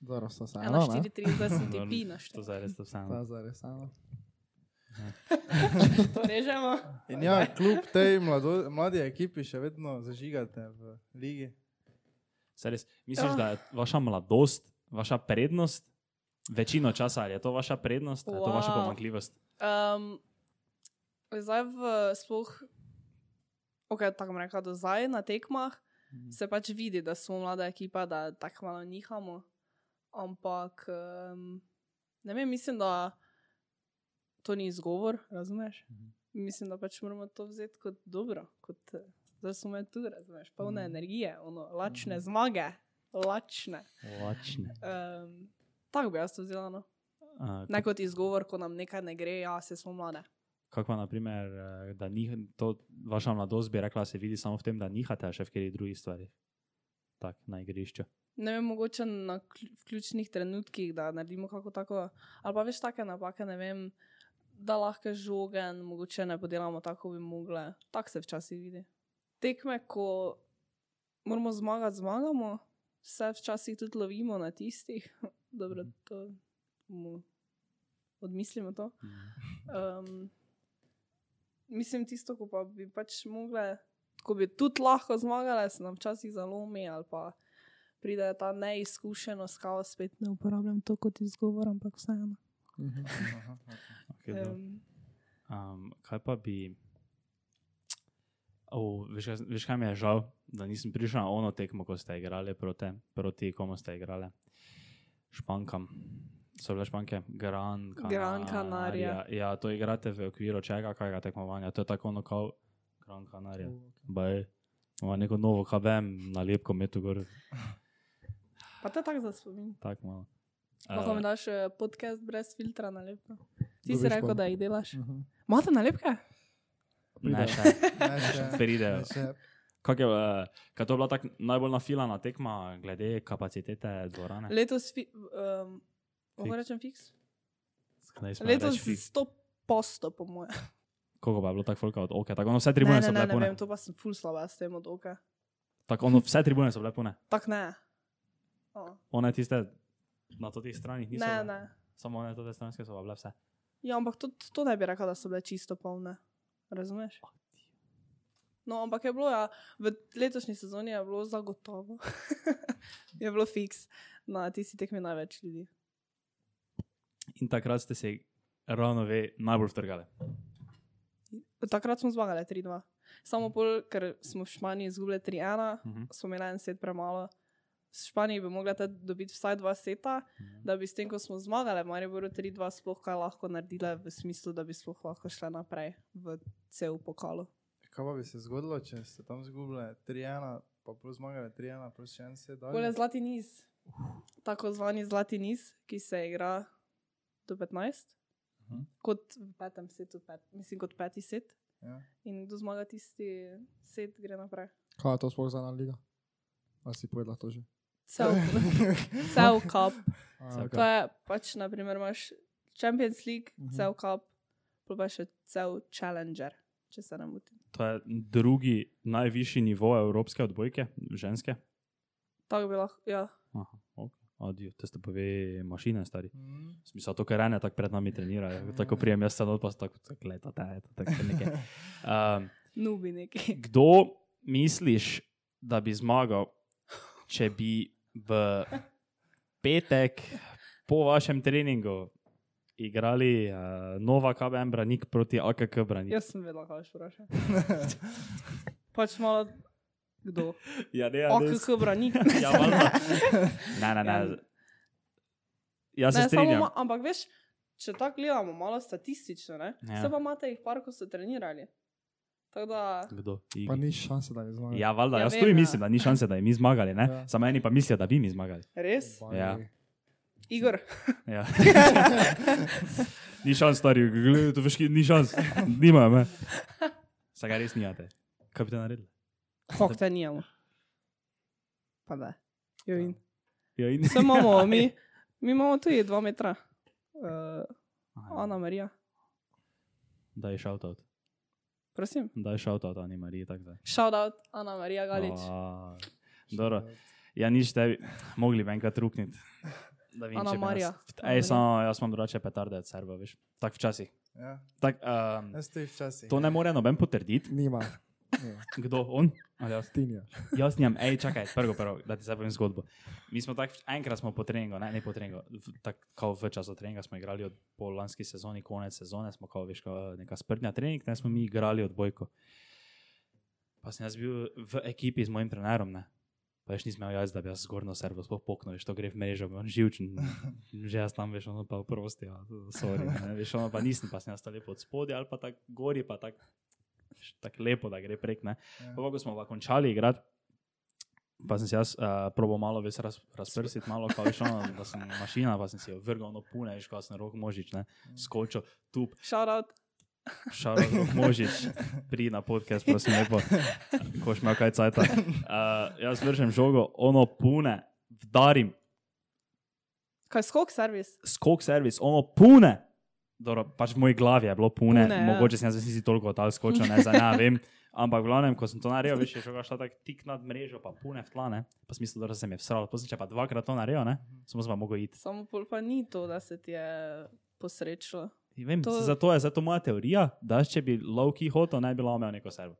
Speaker 2: Dobro, so se. Eno, ne?
Speaker 1: 4, 3, zdaj sem ti
Speaker 3: Dobro,
Speaker 1: pi na
Speaker 3: To
Speaker 1: 4.
Speaker 3: zdaj res to vseeno.
Speaker 2: Ta zares, eno.
Speaker 1: To režemo.
Speaker 4: In ja, [laughs] kljub tej mlado, mladi ekipi še vedno zažigate v ligi.
Speaker 3: Saj res, misliš,
Speaker 1: Ja.
Speaker 3: da je vaša mladost, vaša prednost, večino časa ali je to vaša prednost, ali je to vaša
Speaker 1: Wow.
Speaker 3: pomankljivost?
Speaker 1: Um, zdaj, v, sploh, okay, tako bom rekla, do zdaj na tekmah
Speaker 3: Mhm.
Speaker 1: se pač vidi, da smo mlada ekipa, da tako malo nihamo. Ampak um, ne vem, mislim, da to ni izgovor, razumeš?
Speaker 3: Mhm.
Speaker 1: Mislim, da pač moramo to vzeti kot dobro, kot eh, da smo med tu, razumeš? Polne
Speaker 3: Mhm.
Speaker 1: energije, ono, lačne zmage, lačne.
Speaker 3: Lačne.
Speaker 1: Um, tako bi jaz to vzela. No.
Speaker 3: Uh,
Speaker 1: Ne kot izgovor, ko nam nekaj ne gre, ja, se smo mlade.
Speaker 3: Kako pa, naprimer, eh, da nih, to, vaša mladost bi rekla, se vidi samo v tem, da nihate, a še v kateri drugi stvari. Tako na igrišču.
Speaker 1: Ne vem, mogoče na klj- v ključnih trenutkih, da naredimo kako tako. Ali pa veš take napake, ne vem, da lahko žogen, mogoče ne podelamo tako, bi mogle. Tako se včasih vidi. Tekme, ko moramo zmagati, zmagamo, se včasih tudi lovimo na tistih. [laughs] Dobro, to bomo- odmislimo to.
Speaker 3: Mm.
Speaker 1: Um, mislim, tisto, ko pa bi pač mogle, ko bi tudi lahko zmagale, se nam včasih zalomi ali pa pride ta neizkušenost, kao spet ne uporabljam to kot izgovor, ampak vseeno.
Speaker 2: Mhm.
Speaker 3: Okay, dobro.
Speaker 1: Em,
Speaker 3: Um, kaj pa bi. Oh, veš, kaj- veš, kaj mi je žal, da nisem prišel na ono tekmo, ko ste igrali proti, proti komu ste igrali. Špankam. So bile španke, Gran Canaria.
Speaker 1: Gran Canaria.
Speaker 3: Ja, to igrate v okviru čega, kajega tekmovanja. To je tako ono kao Gran Canaria. Baj, ima neko novo KBM nalepko metu gor,
Speaker 1: Pa to je tako za spomin.
Speaker 3: tako malo.
Speaker 1: Lahko
Speaker 3: Eh,
Speaker 1: mi daš eh, podcast brez filtra na lepo. Ti si
Speaker 2: Dobiš
Speaker 1: rekel,
Speaker 2: pa-
Speaker 1: da jih delaš.
Speaker 3: Mhm.
Speaker 1: Imate nalepke?
Speaker 3: ne,
Speaker 2: pridejo.
Speaker 3: še,
Speaker 4: Ne, še-
Speaker 3: pridejo.
Speaker 4: ne, še-
Speaker 3: Kak je, eh, kaj to je bila tak najbolj nafilana tekma glede kapacitete dvorane?
Speaker 1: Letos, fi, um, lahko
Speaker 3: Fiks.
Speaker 1: rečem fiks?
Speaker 3: Ne smem
Speaker 1: Letos
Speaker 3: reči fiks.
Speaker 1: 100 posto, po mojem.
Speaker 3: Koliko pa je bilo tako folka od oka? Tako ono vse
Speaker 1: Ne,
Speaker 3: tribune
Speaker 1: ne,
Speaker 3: so
Speaker 1: ne,
Speaker 3: bile
Speaker 1: ne vem,
Speaker 3: pune.
Speaker 1: to pa sem full slaba s tem od oka.
Speaker 3: Tako ono vse tribune so bile pune.
Speaker 1: Tak ne. O,
Speaker 3: One tiste na totih stranih niso.
Speaker 1: ne,
Speaker 3: bile.
Speaker 1: ne.
Speaker 3: Samo one tote stranske so pa bile vse.
Speaker 1: Ja, ampak to, to ne bi rekel, da so bile čisto polne. Razumeš? No, ampak je bilo, ja, v letošnji sezoni je bilo zagotovo. [laughs] je bilo fiks, na tisti tekmi največ ljudi.
Speaker 3: In takrat ste se ravno ve najbolj vtrgali.
Speaker 1: Takrat smo zmagali 3-2. Samo pol, ker smo v Španiji izgubili 3-1,
Speaker 3: Mhm.
Speaker 1: smo imeli en set premalo. V Španiji bi mogla ta dobiti vsaj dva seta,
Speaker 3: Mhm.
Speaker 1: da bi s tem, ko smo zmagali, Mariboru 3-2 sploh kaj lahko naredila, v smislu, da bi sploh lahko šla naprej v cel pokalo.
Speaker 4: Kaj pa bi se zgodilo, če ste tam zgubili 3-1, pa plus zmagali 3-1, plus še en se da?
Speaker 1: Bolje zlati niz. Tako zvani zlati niz, ki se igra do 15,
Speaker 3: Mhm.
Speaker 1: kot v petem setu, pet, mislim kot peti set.
Speaker 4: Ja.
Speaker 1: In kdo zmaga tisti set, gre
Speaker 3: [laughs]
Speaker 1: naprej.
Speaker 2: Kaj je to sploh za ena liga? A si povedala to že?
Speaker 1: Cel,
Speaker 4: [laughs]
Speaker 1: cel cup.
Speaker 2: A,
Speaker 1: To je pač, na primer, imaš Champions League,
Speaker 2: Mhm.
Speaker 1: cel cup, pa pa še cel Challenger, če se ne motim.
Speaker 3: To je drugi najvišji nivo evropske odbojke, ženske.
Speaker 1: Tako bi lahko, ja.
Speaker 3: Aha, ok. Adijo, te ste pove mašine, stari.
Speaker 4: Mhm.
Speaker 3: Smisel, to, kar ene tako pred nami trenirajo, tako prijem jaz stanov, pa se tako, tako letate, tako
Speaker 1: [laughs]
Speaker 3: nekaj. Um,
Speaker 1: Nubi
Speaker 3: [laughs]
Speaker 1: neki.
Speaker 3: Kdo misliš, da bi zmagal, če bi v petek po vašem treningu igrali uh, Nova KBM branik proti AKK branik?
Speaker 1: Jaz sem vedela, kaj boš vprašal.
Speaker 3: [laughs]
Speaker 1: pač malo kdo.
Speaker 3: Ja, ne,
Speaker 1: Ja, OKK branik.
Speaker 3: [laughs] Ja, valjda. ne,
Speaker 1: Ja.
Speaker 3: ne, ne. Jaz se
Speaker 1: Ne, samo
Speaker 3: strinjam.
Speaker 1: ma, ampak veš, če tako gledamo, malo statistično, ne?
Speaker 3: Ja.
Speaker 1: Ja. Se pa imate jih par, ko so trenirali. Tako da,
Speaker 3: Kdo?
Speaker 2: Pa
Speaker 3: Igi.
Speaker 2: ni šanse, da bi zmagali.
Speaker 3: Ja, valjda,
Speaker 1: Ja,
Speaker 3: jaz
Speaker 1: vem,
Speaker 3: tudi
Speaker 1: ja.
Speaker 3: mislim, da ni šanse, da bi mi zmagali. ne.
Speaker 2: Ja.
Speaker 3: Samo eni pa mislijo, da bi mi zmagali.
Speaker 1: res,
Speaker 2: Baj.
Speaker 3: Ja.
Speaker 1: Igor,
Speaker 3: Ja. [laughs] ni šans, stari, gledaj, to veš, ki- ni šans, nimajo me. Saj ga res nijate. Kaj bi te naredili?
Speaker 1: kako te nijamo. Pa da. Joj.
Speaker 3: Ja, in
Speaker 1: Vse
Speaker 3: [laughs]
Speaker 1: imamo, mi, mi imamo tudi dva metra. Uh, Ana Marija,
Speaker 3: ja. Daj shoutout,
Speaker 1: prosim.
Speaker 3: daj shoutout Ani Mariji, tako da.
Speaker 1: Shout out Ana Marija Galič.
Speaker 3: A, Dobro, ja nič tebi, mogli bi enkrat rukniti. Da vidim,
Speaker 1: Ana
Speaker 3: če bi
Speaker 1: Marija.
Speaker 3: nas-
Speaker 1: Ana
Speaker 3: Ej,
Speaker 1: Marija.
Speaker 3: samo jaz imam drugače petarde od serva, veš. Tak včasih.
Speaker 4: Ja,
Speaker 3: Tak, um,
Speaker 4: jaz te včasih.
Speaker 3: to ne more noben potrditi.
Speaker 2: Nima. Nima.
Speaker 3: Kdo? On? Ali jaz? [laughs]
Speaker 2: Tinja.
Speaker 3: Jaz njim, hej, čakaj, prvo, prvo, da ti zdaj povem zgodbo. Mi smo tako, enkrat smo po treningu, ne, ne po treningu, tako v času treninga smo igrali od po lanski sezoni, konec sezone, smo kao, veš, kao, neka sprdnja trening, ne smo mi igrali odbojko. Pa sem jaz bil v ekipi z mojim trenerom, ne. Pa veš, nisem imel jaz, da bi jaz zgornjo servo sploh poknil, veš, to gre v mrežo, bil on živčen, že jaz tam veš, ono pa oprosti, ja, sorry, ne, veš, ono pa nisem, pa sem jaz to lepo od spodaj ali pa tako gori, pa tako tako lepo, da gre prek. Ne. Pa, pa ko smo pa končali igrati, Pa sem se jaz uh, probo malo več raz, razprsiti, malo kao išla, da sem mašina, pa sem si jo vrgal ono pune, veš, ko sem rok možič, ne, skočil, tup,
Speaker 1: Shout out.
Speaker 3: šaro, rok možič, pri na podcast, prosim, lepo, koš me kaj cajta. Uh, jaz vržem žogo, ono pune, vdarim,
Speaker 1: Kaj skok servis?
Speaker 3: skok servis, ono pune. Dobro, pač v moji glavi je bilo pune,
Speaker 1: Pune,
Speaker 3: pune
Speaker 1: ja.
Speaker 3: mogoče sem jaz res nisi toliko odal skočil, ne za ne vem. Ampak v glavnem, ko sem to naredil, veš, je šel šla tako tik nad mrežo, pa pune v tlane, pa sem mislil, da se mi je vsral. Potem, če pa dvakrat to naredil, ne, samo sem pa mogel iti.
Speaker 1: Samo pol pa ni to, da se ti je posrečilo.
Speaker 3: In Vem,
Speaker 1: To-
Speaker 3: to... Zato je zato moja teorija, da če bi Loki hotel, naj bi lamal neko servo.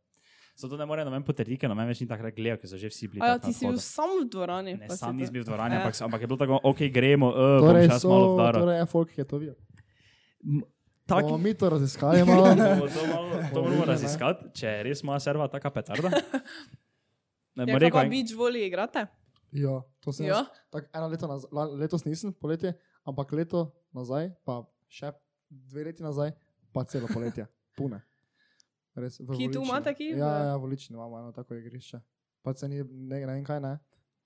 Speaker 3: Zato ne more noben potrditi, ker noben več ni takrat gledal, ker so že vsi bili.
Speaker 1: A ja,
Speaker 3: tako
Speaker 1: ti
Speaker 3: na
Speaker 1: si bil
Speaker 3: vhodu.
Speaker 1: sam v dvorani.
Speaker 3: Ne,
Speaker 1: pa si
Speaker 3: sam
Speaker 1: to-
Speaker 3: nisem bil v dvorani,
Speaker 1: Ja.
Speaker 3: ampak, ampak je bilo tako, ok, gremo, uh, torej,
Speaker 2: Torej,
Speaker 3: bom še jaz
Speaker 2: so,
Speaker 3: malo vdaro.
Speaker 2: torej je folk, ki je to videl.
Speaker 3: Taki-
Speaker 2: Bomo mi to raziskali malo.
Speaker 3: [laughs] Bomo [laughs] to, malo- to moramo raziskati, če je res moja serva taka
Speaker 1: [laughs]
Speaker 3: petarda. Ne
Speaker 1: Ja,
Speaker 3: bom
Speaker 1: rekel,
Speaker 3: rekel,
Speaker 1: pa
Speaker 3: en-
Speaker 1: beach voli igrate?
Speaker 2: Ja, to sem
Speaker 1: Ja.
Speaker 2: jaz. Tak, eno leto nazaj, letos nisem poletje, ampak leto nazaj, pa še dve leti nazaj, pa celo poletje, pune. Res, v
Speaker 1: Ki tu
Speaker 2: Voličini.
Speaker 1: imate, ki v-
Speaker 2: Ja, ja, volični imamo eno tako igrišče. Pa se ni, ne, ne vem kaj ne,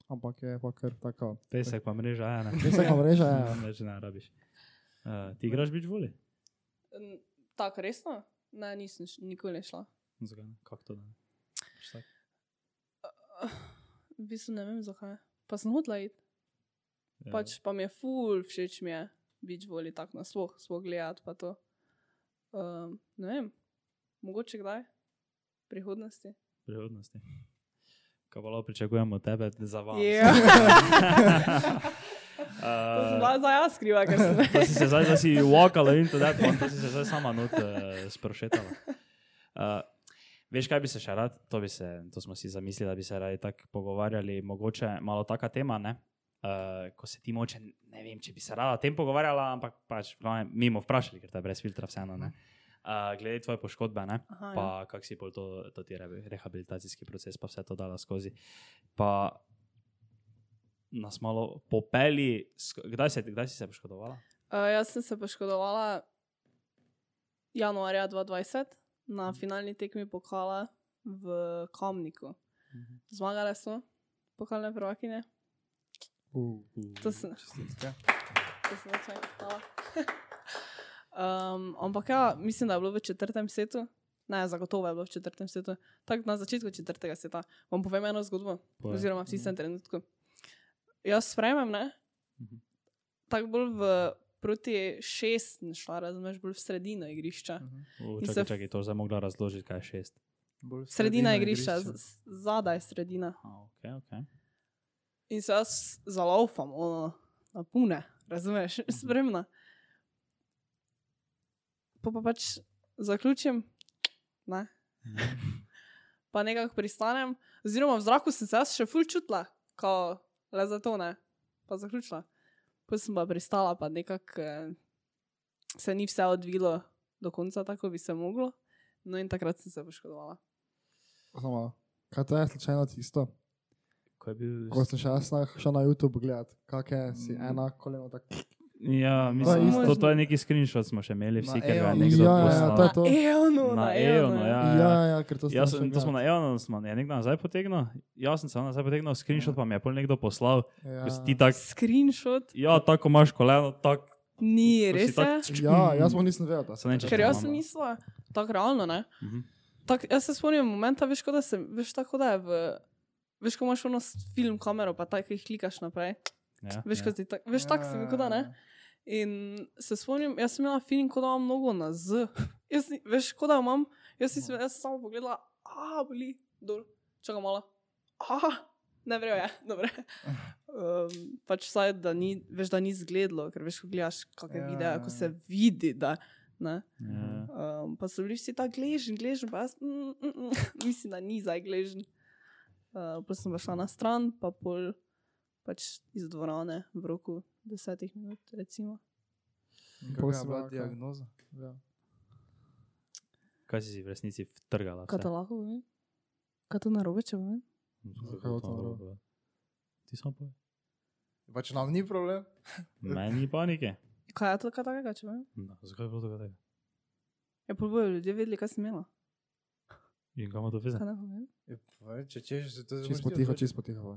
Speaker 2: ampak je pa kar tako.
Speaker 3: Pesek pa mreža, ja, ne.
Speaker 2: Pesek pa mreža, ja,
Speaker 3: [laughs]
Speaker 2: ja.
Speaker 3: Več ne rabiš. Uh, ti igraš bič voli?
Speaker 1: N- Tako resno? Ne, nisem š- nikoli ne šla.
Speaker 3: Zakaj ne? Kako to da ne? Pač tako.
Speaker 1: V bistvu ne vem zakaj. Pa sem hodila iti.
Speaker 3: Ja.
Speaker 1: Pač pa mi je ful, všeč mi je beach voli tako nasploh, sploh gledati pa to. Um, ne vem, mogoče kdaj, v
Speaker 3: [laughs]
Speaker 1: prihodnosti.
Speaker 3: prihodnosti. Kaj pa lahko pričakujemo od tebe, za vas? [laughs]
Speaker 1: Ja. To sem bila
Speaker 3: uh,
Speaker 1: za jaz kriva, ker sem.
Speaker 3: to si se zdaj, da si walkala in to da, to si se zdaj sama not uh, sprošetala. Uh, Veš, kaj bi se še rad, to, bi se, to smo si zamislili, da bi se radi tako pogovarjali, mogoče malo taka tema, ne? Uh, ko se ti moče, ne vem, če bi se rada o tem pogovarjala, ampak pač, v glavnem, mimo vprašali, ker to je brez filtra vseeno. ne. Uh, glede tvoje poškodbe, ne?
Speaker 1: Aha, ja.
Speaker 3: pa kako si pol to, to ti rebi- rehabilitacijski proces, pa vse to dala skozi. Pa nas malo popeli, sk- kdaj, se, kdaj si se poškodovala?
Speaker 1: Uh, jaz sem se poškodovala januarja 2020 na finalni tekmi pokala v Kamniku. Zmagale so pokalne prvakine.
Speaker 2: Uh,
Speaker 1: To sem,
Speaker 4: Čestitke.
Speaker 1: to sem več hvala. [laughs] um, ampak ja, mislim, da je bilo v četrtem setu. Ne, zagotovo je bilo v četrtem setu. Tako na začetku četrtega seta. Vam povem eno zgodbo,
Speaker 3: Povej.
Speaker 1: oziroma v tistem trenutku. Jaz sprejmem, ne?
Speaker 3: Mhm.
Speaker 1: Tako bolj v proti šest, sem šla, razumeš, bolj v sredino igrišča.
Speaker 3: U,
Speaker 4: Mhm.
Speaker 1: In
Speaker 3: čakaj,
Speaker 1: se-
Speaker 3: čakaj, to je zdaj mogla razložiti, kaj je šest.
Speaker 4: Bolj
Speaker 1: Sredina igrišča, z- z- zadaj je sredina.
Speaker 3: A, okay,
Speaker 1: [laughs]
Speaker 3: okay.
Speaker 1: In se jaz zalaufam, ono, na pune, razumeš, spremna. Pa pa pač zaključim, ne. pa nekako pristanem, oziroma v zraku sem se jaz še ful čutila, kao le za to ne, pa zaključila. Pa sem pa pristala, pa nekako eh, se ni vse odvilo do konca, tako bi se moglo. No in takrat sem se poškodovala.
Speaker 2: Samo, kaj to je slučajno tisto?
Speaker 3: Ko je bil...
Speaker 2: Ko sem še jaz na- šel na YouTube gledat, kak je si
Speaker 4: Mm.
Speaker 2: ena koleno tako.
Speaker 3: Ja,
Speaker 2: To je
Speaker 3: mislim,
Speaker 2: isto.
Speaker 3: to, to, to je neki screenshot, smo še imeli, vsi,
Speaker 4: Na
Speaker 3: ker ga je
Speaker 4: Eonu.
Speaker 3: nekdo
Speaker 2: Ja, ja,
Speaker 3: poslal.
Speaker 2: to je to.
Speaker 1: Eonu,
Speaker 3: Na
Speaker 1: na
Speaker 3: Eonu,
Speaker 1: Eonu,
Speaker 3: ja.
Speaker 2: Ja, ja, ker to
Speaker 3: Jaz
Speaker 2: sem
Speaker 3: sem,
Speaker 2: šel
Speaker 3: to smo
Speaker 2: gledat.
Speaker 3: na Eonu, smo je nekdo nazaj potegnil, jaz sem se nazaj potegnil, screenshot pa mi je pol nekdo poslal,
Speaker 2: Ja.
Speaker 3: ko si ti tak,
Speaker 1: Screenshot
Speaker 3: ja, tako imaš koleno, tako.
Speaker 1: ni
Speaker 3: ko si
Speaker 1: res.
Speaker 3: tak-
Speaker 1: je?
Speaker 2: Ja, jaz smo nisem vedel, da
Speaker 3: Se ne češ-
Speaker 1: Ker jaz
Speaker 3: Mama.
Speaker 1: sem mislila, tako realno ne.
Speaker 3: Mhm.
Speaker 1: Tak, jaz se spomnim momenta, veš, kot da se, veš, tako da je v. Veš, ko imaš ono s- film kamero, pa tako jih klikaš naprej.
Speaker 3: Ja,
Speaker 1: Veš,
Speaker 3: ja.
Speaker 1: ja. ti tak, veš, tako se mi kot da
Speaker 4: Ja.
Speaker 1: ne. In se spomnim, jaz sem imela film, kot da imam nogo na z. Jaz, ni- veš, kot da imam, jaz sem, jaz sem samo pogledala, a bili, dol, čakaj malo. A, ne vrejo je, dobre. Um, pač vsaj, da ni, veš, da ni zgledlo, ker veš, ko gledaš kakšne ja,
Speaker 4: Ja,
Speaker 1: videe,
Speaker 4: ja,
Speaker 1: ko
Speaker 4: ja.
Speaker 1: se vidi, da. Ne?
Speaker 3: Ja.
Speaker 1: Um, pa so bili vsi tako gležni, gležni, pa jaz mm, mm, mm, [laughs] mislim, da ni zdaj gležen. Uh, pa sem pa šla na stran, pa pol pač iz dvorane v roku desetih minut, recimo.
Speaker 4: Kakšna je
Speaker 2: Prosim,
Speaker 4: bila
Speaker 2: Raka.
Speaker 4: diagnoza?
Speaker 2: Ja.
Speaker 3: Kaj si si v resnici vtrgala?
Speaker 1: Kaj to lahko povem? Kaj to narobe, če povem?
Speaker 3: Hm,
Speaker 2: Zakaj bo to narobe?
Speaker 3: Ti sam pa.
Speaker 4: Pač nam ni problem.
Speaker 3: Meni panike.
Speaker 1: Kaj je to kaj takega, če povem?
Speaker 3: No, zakaj je bilo tako?
Speaker 1: Ja, pol bojo ljudje vedeli, kaj sem imela.
Speaker 3: In kaj ima to
Speaker 1: [laughs]
Speaker 3: veze?
Speaker 1: Kaj ne povem?
Speaker 4: Je, povej, Če češ, se to zgodi.
Speaker 2: Čisto tiho,
Speaker 4: [laughs]
Speaker 2: čisto tiho.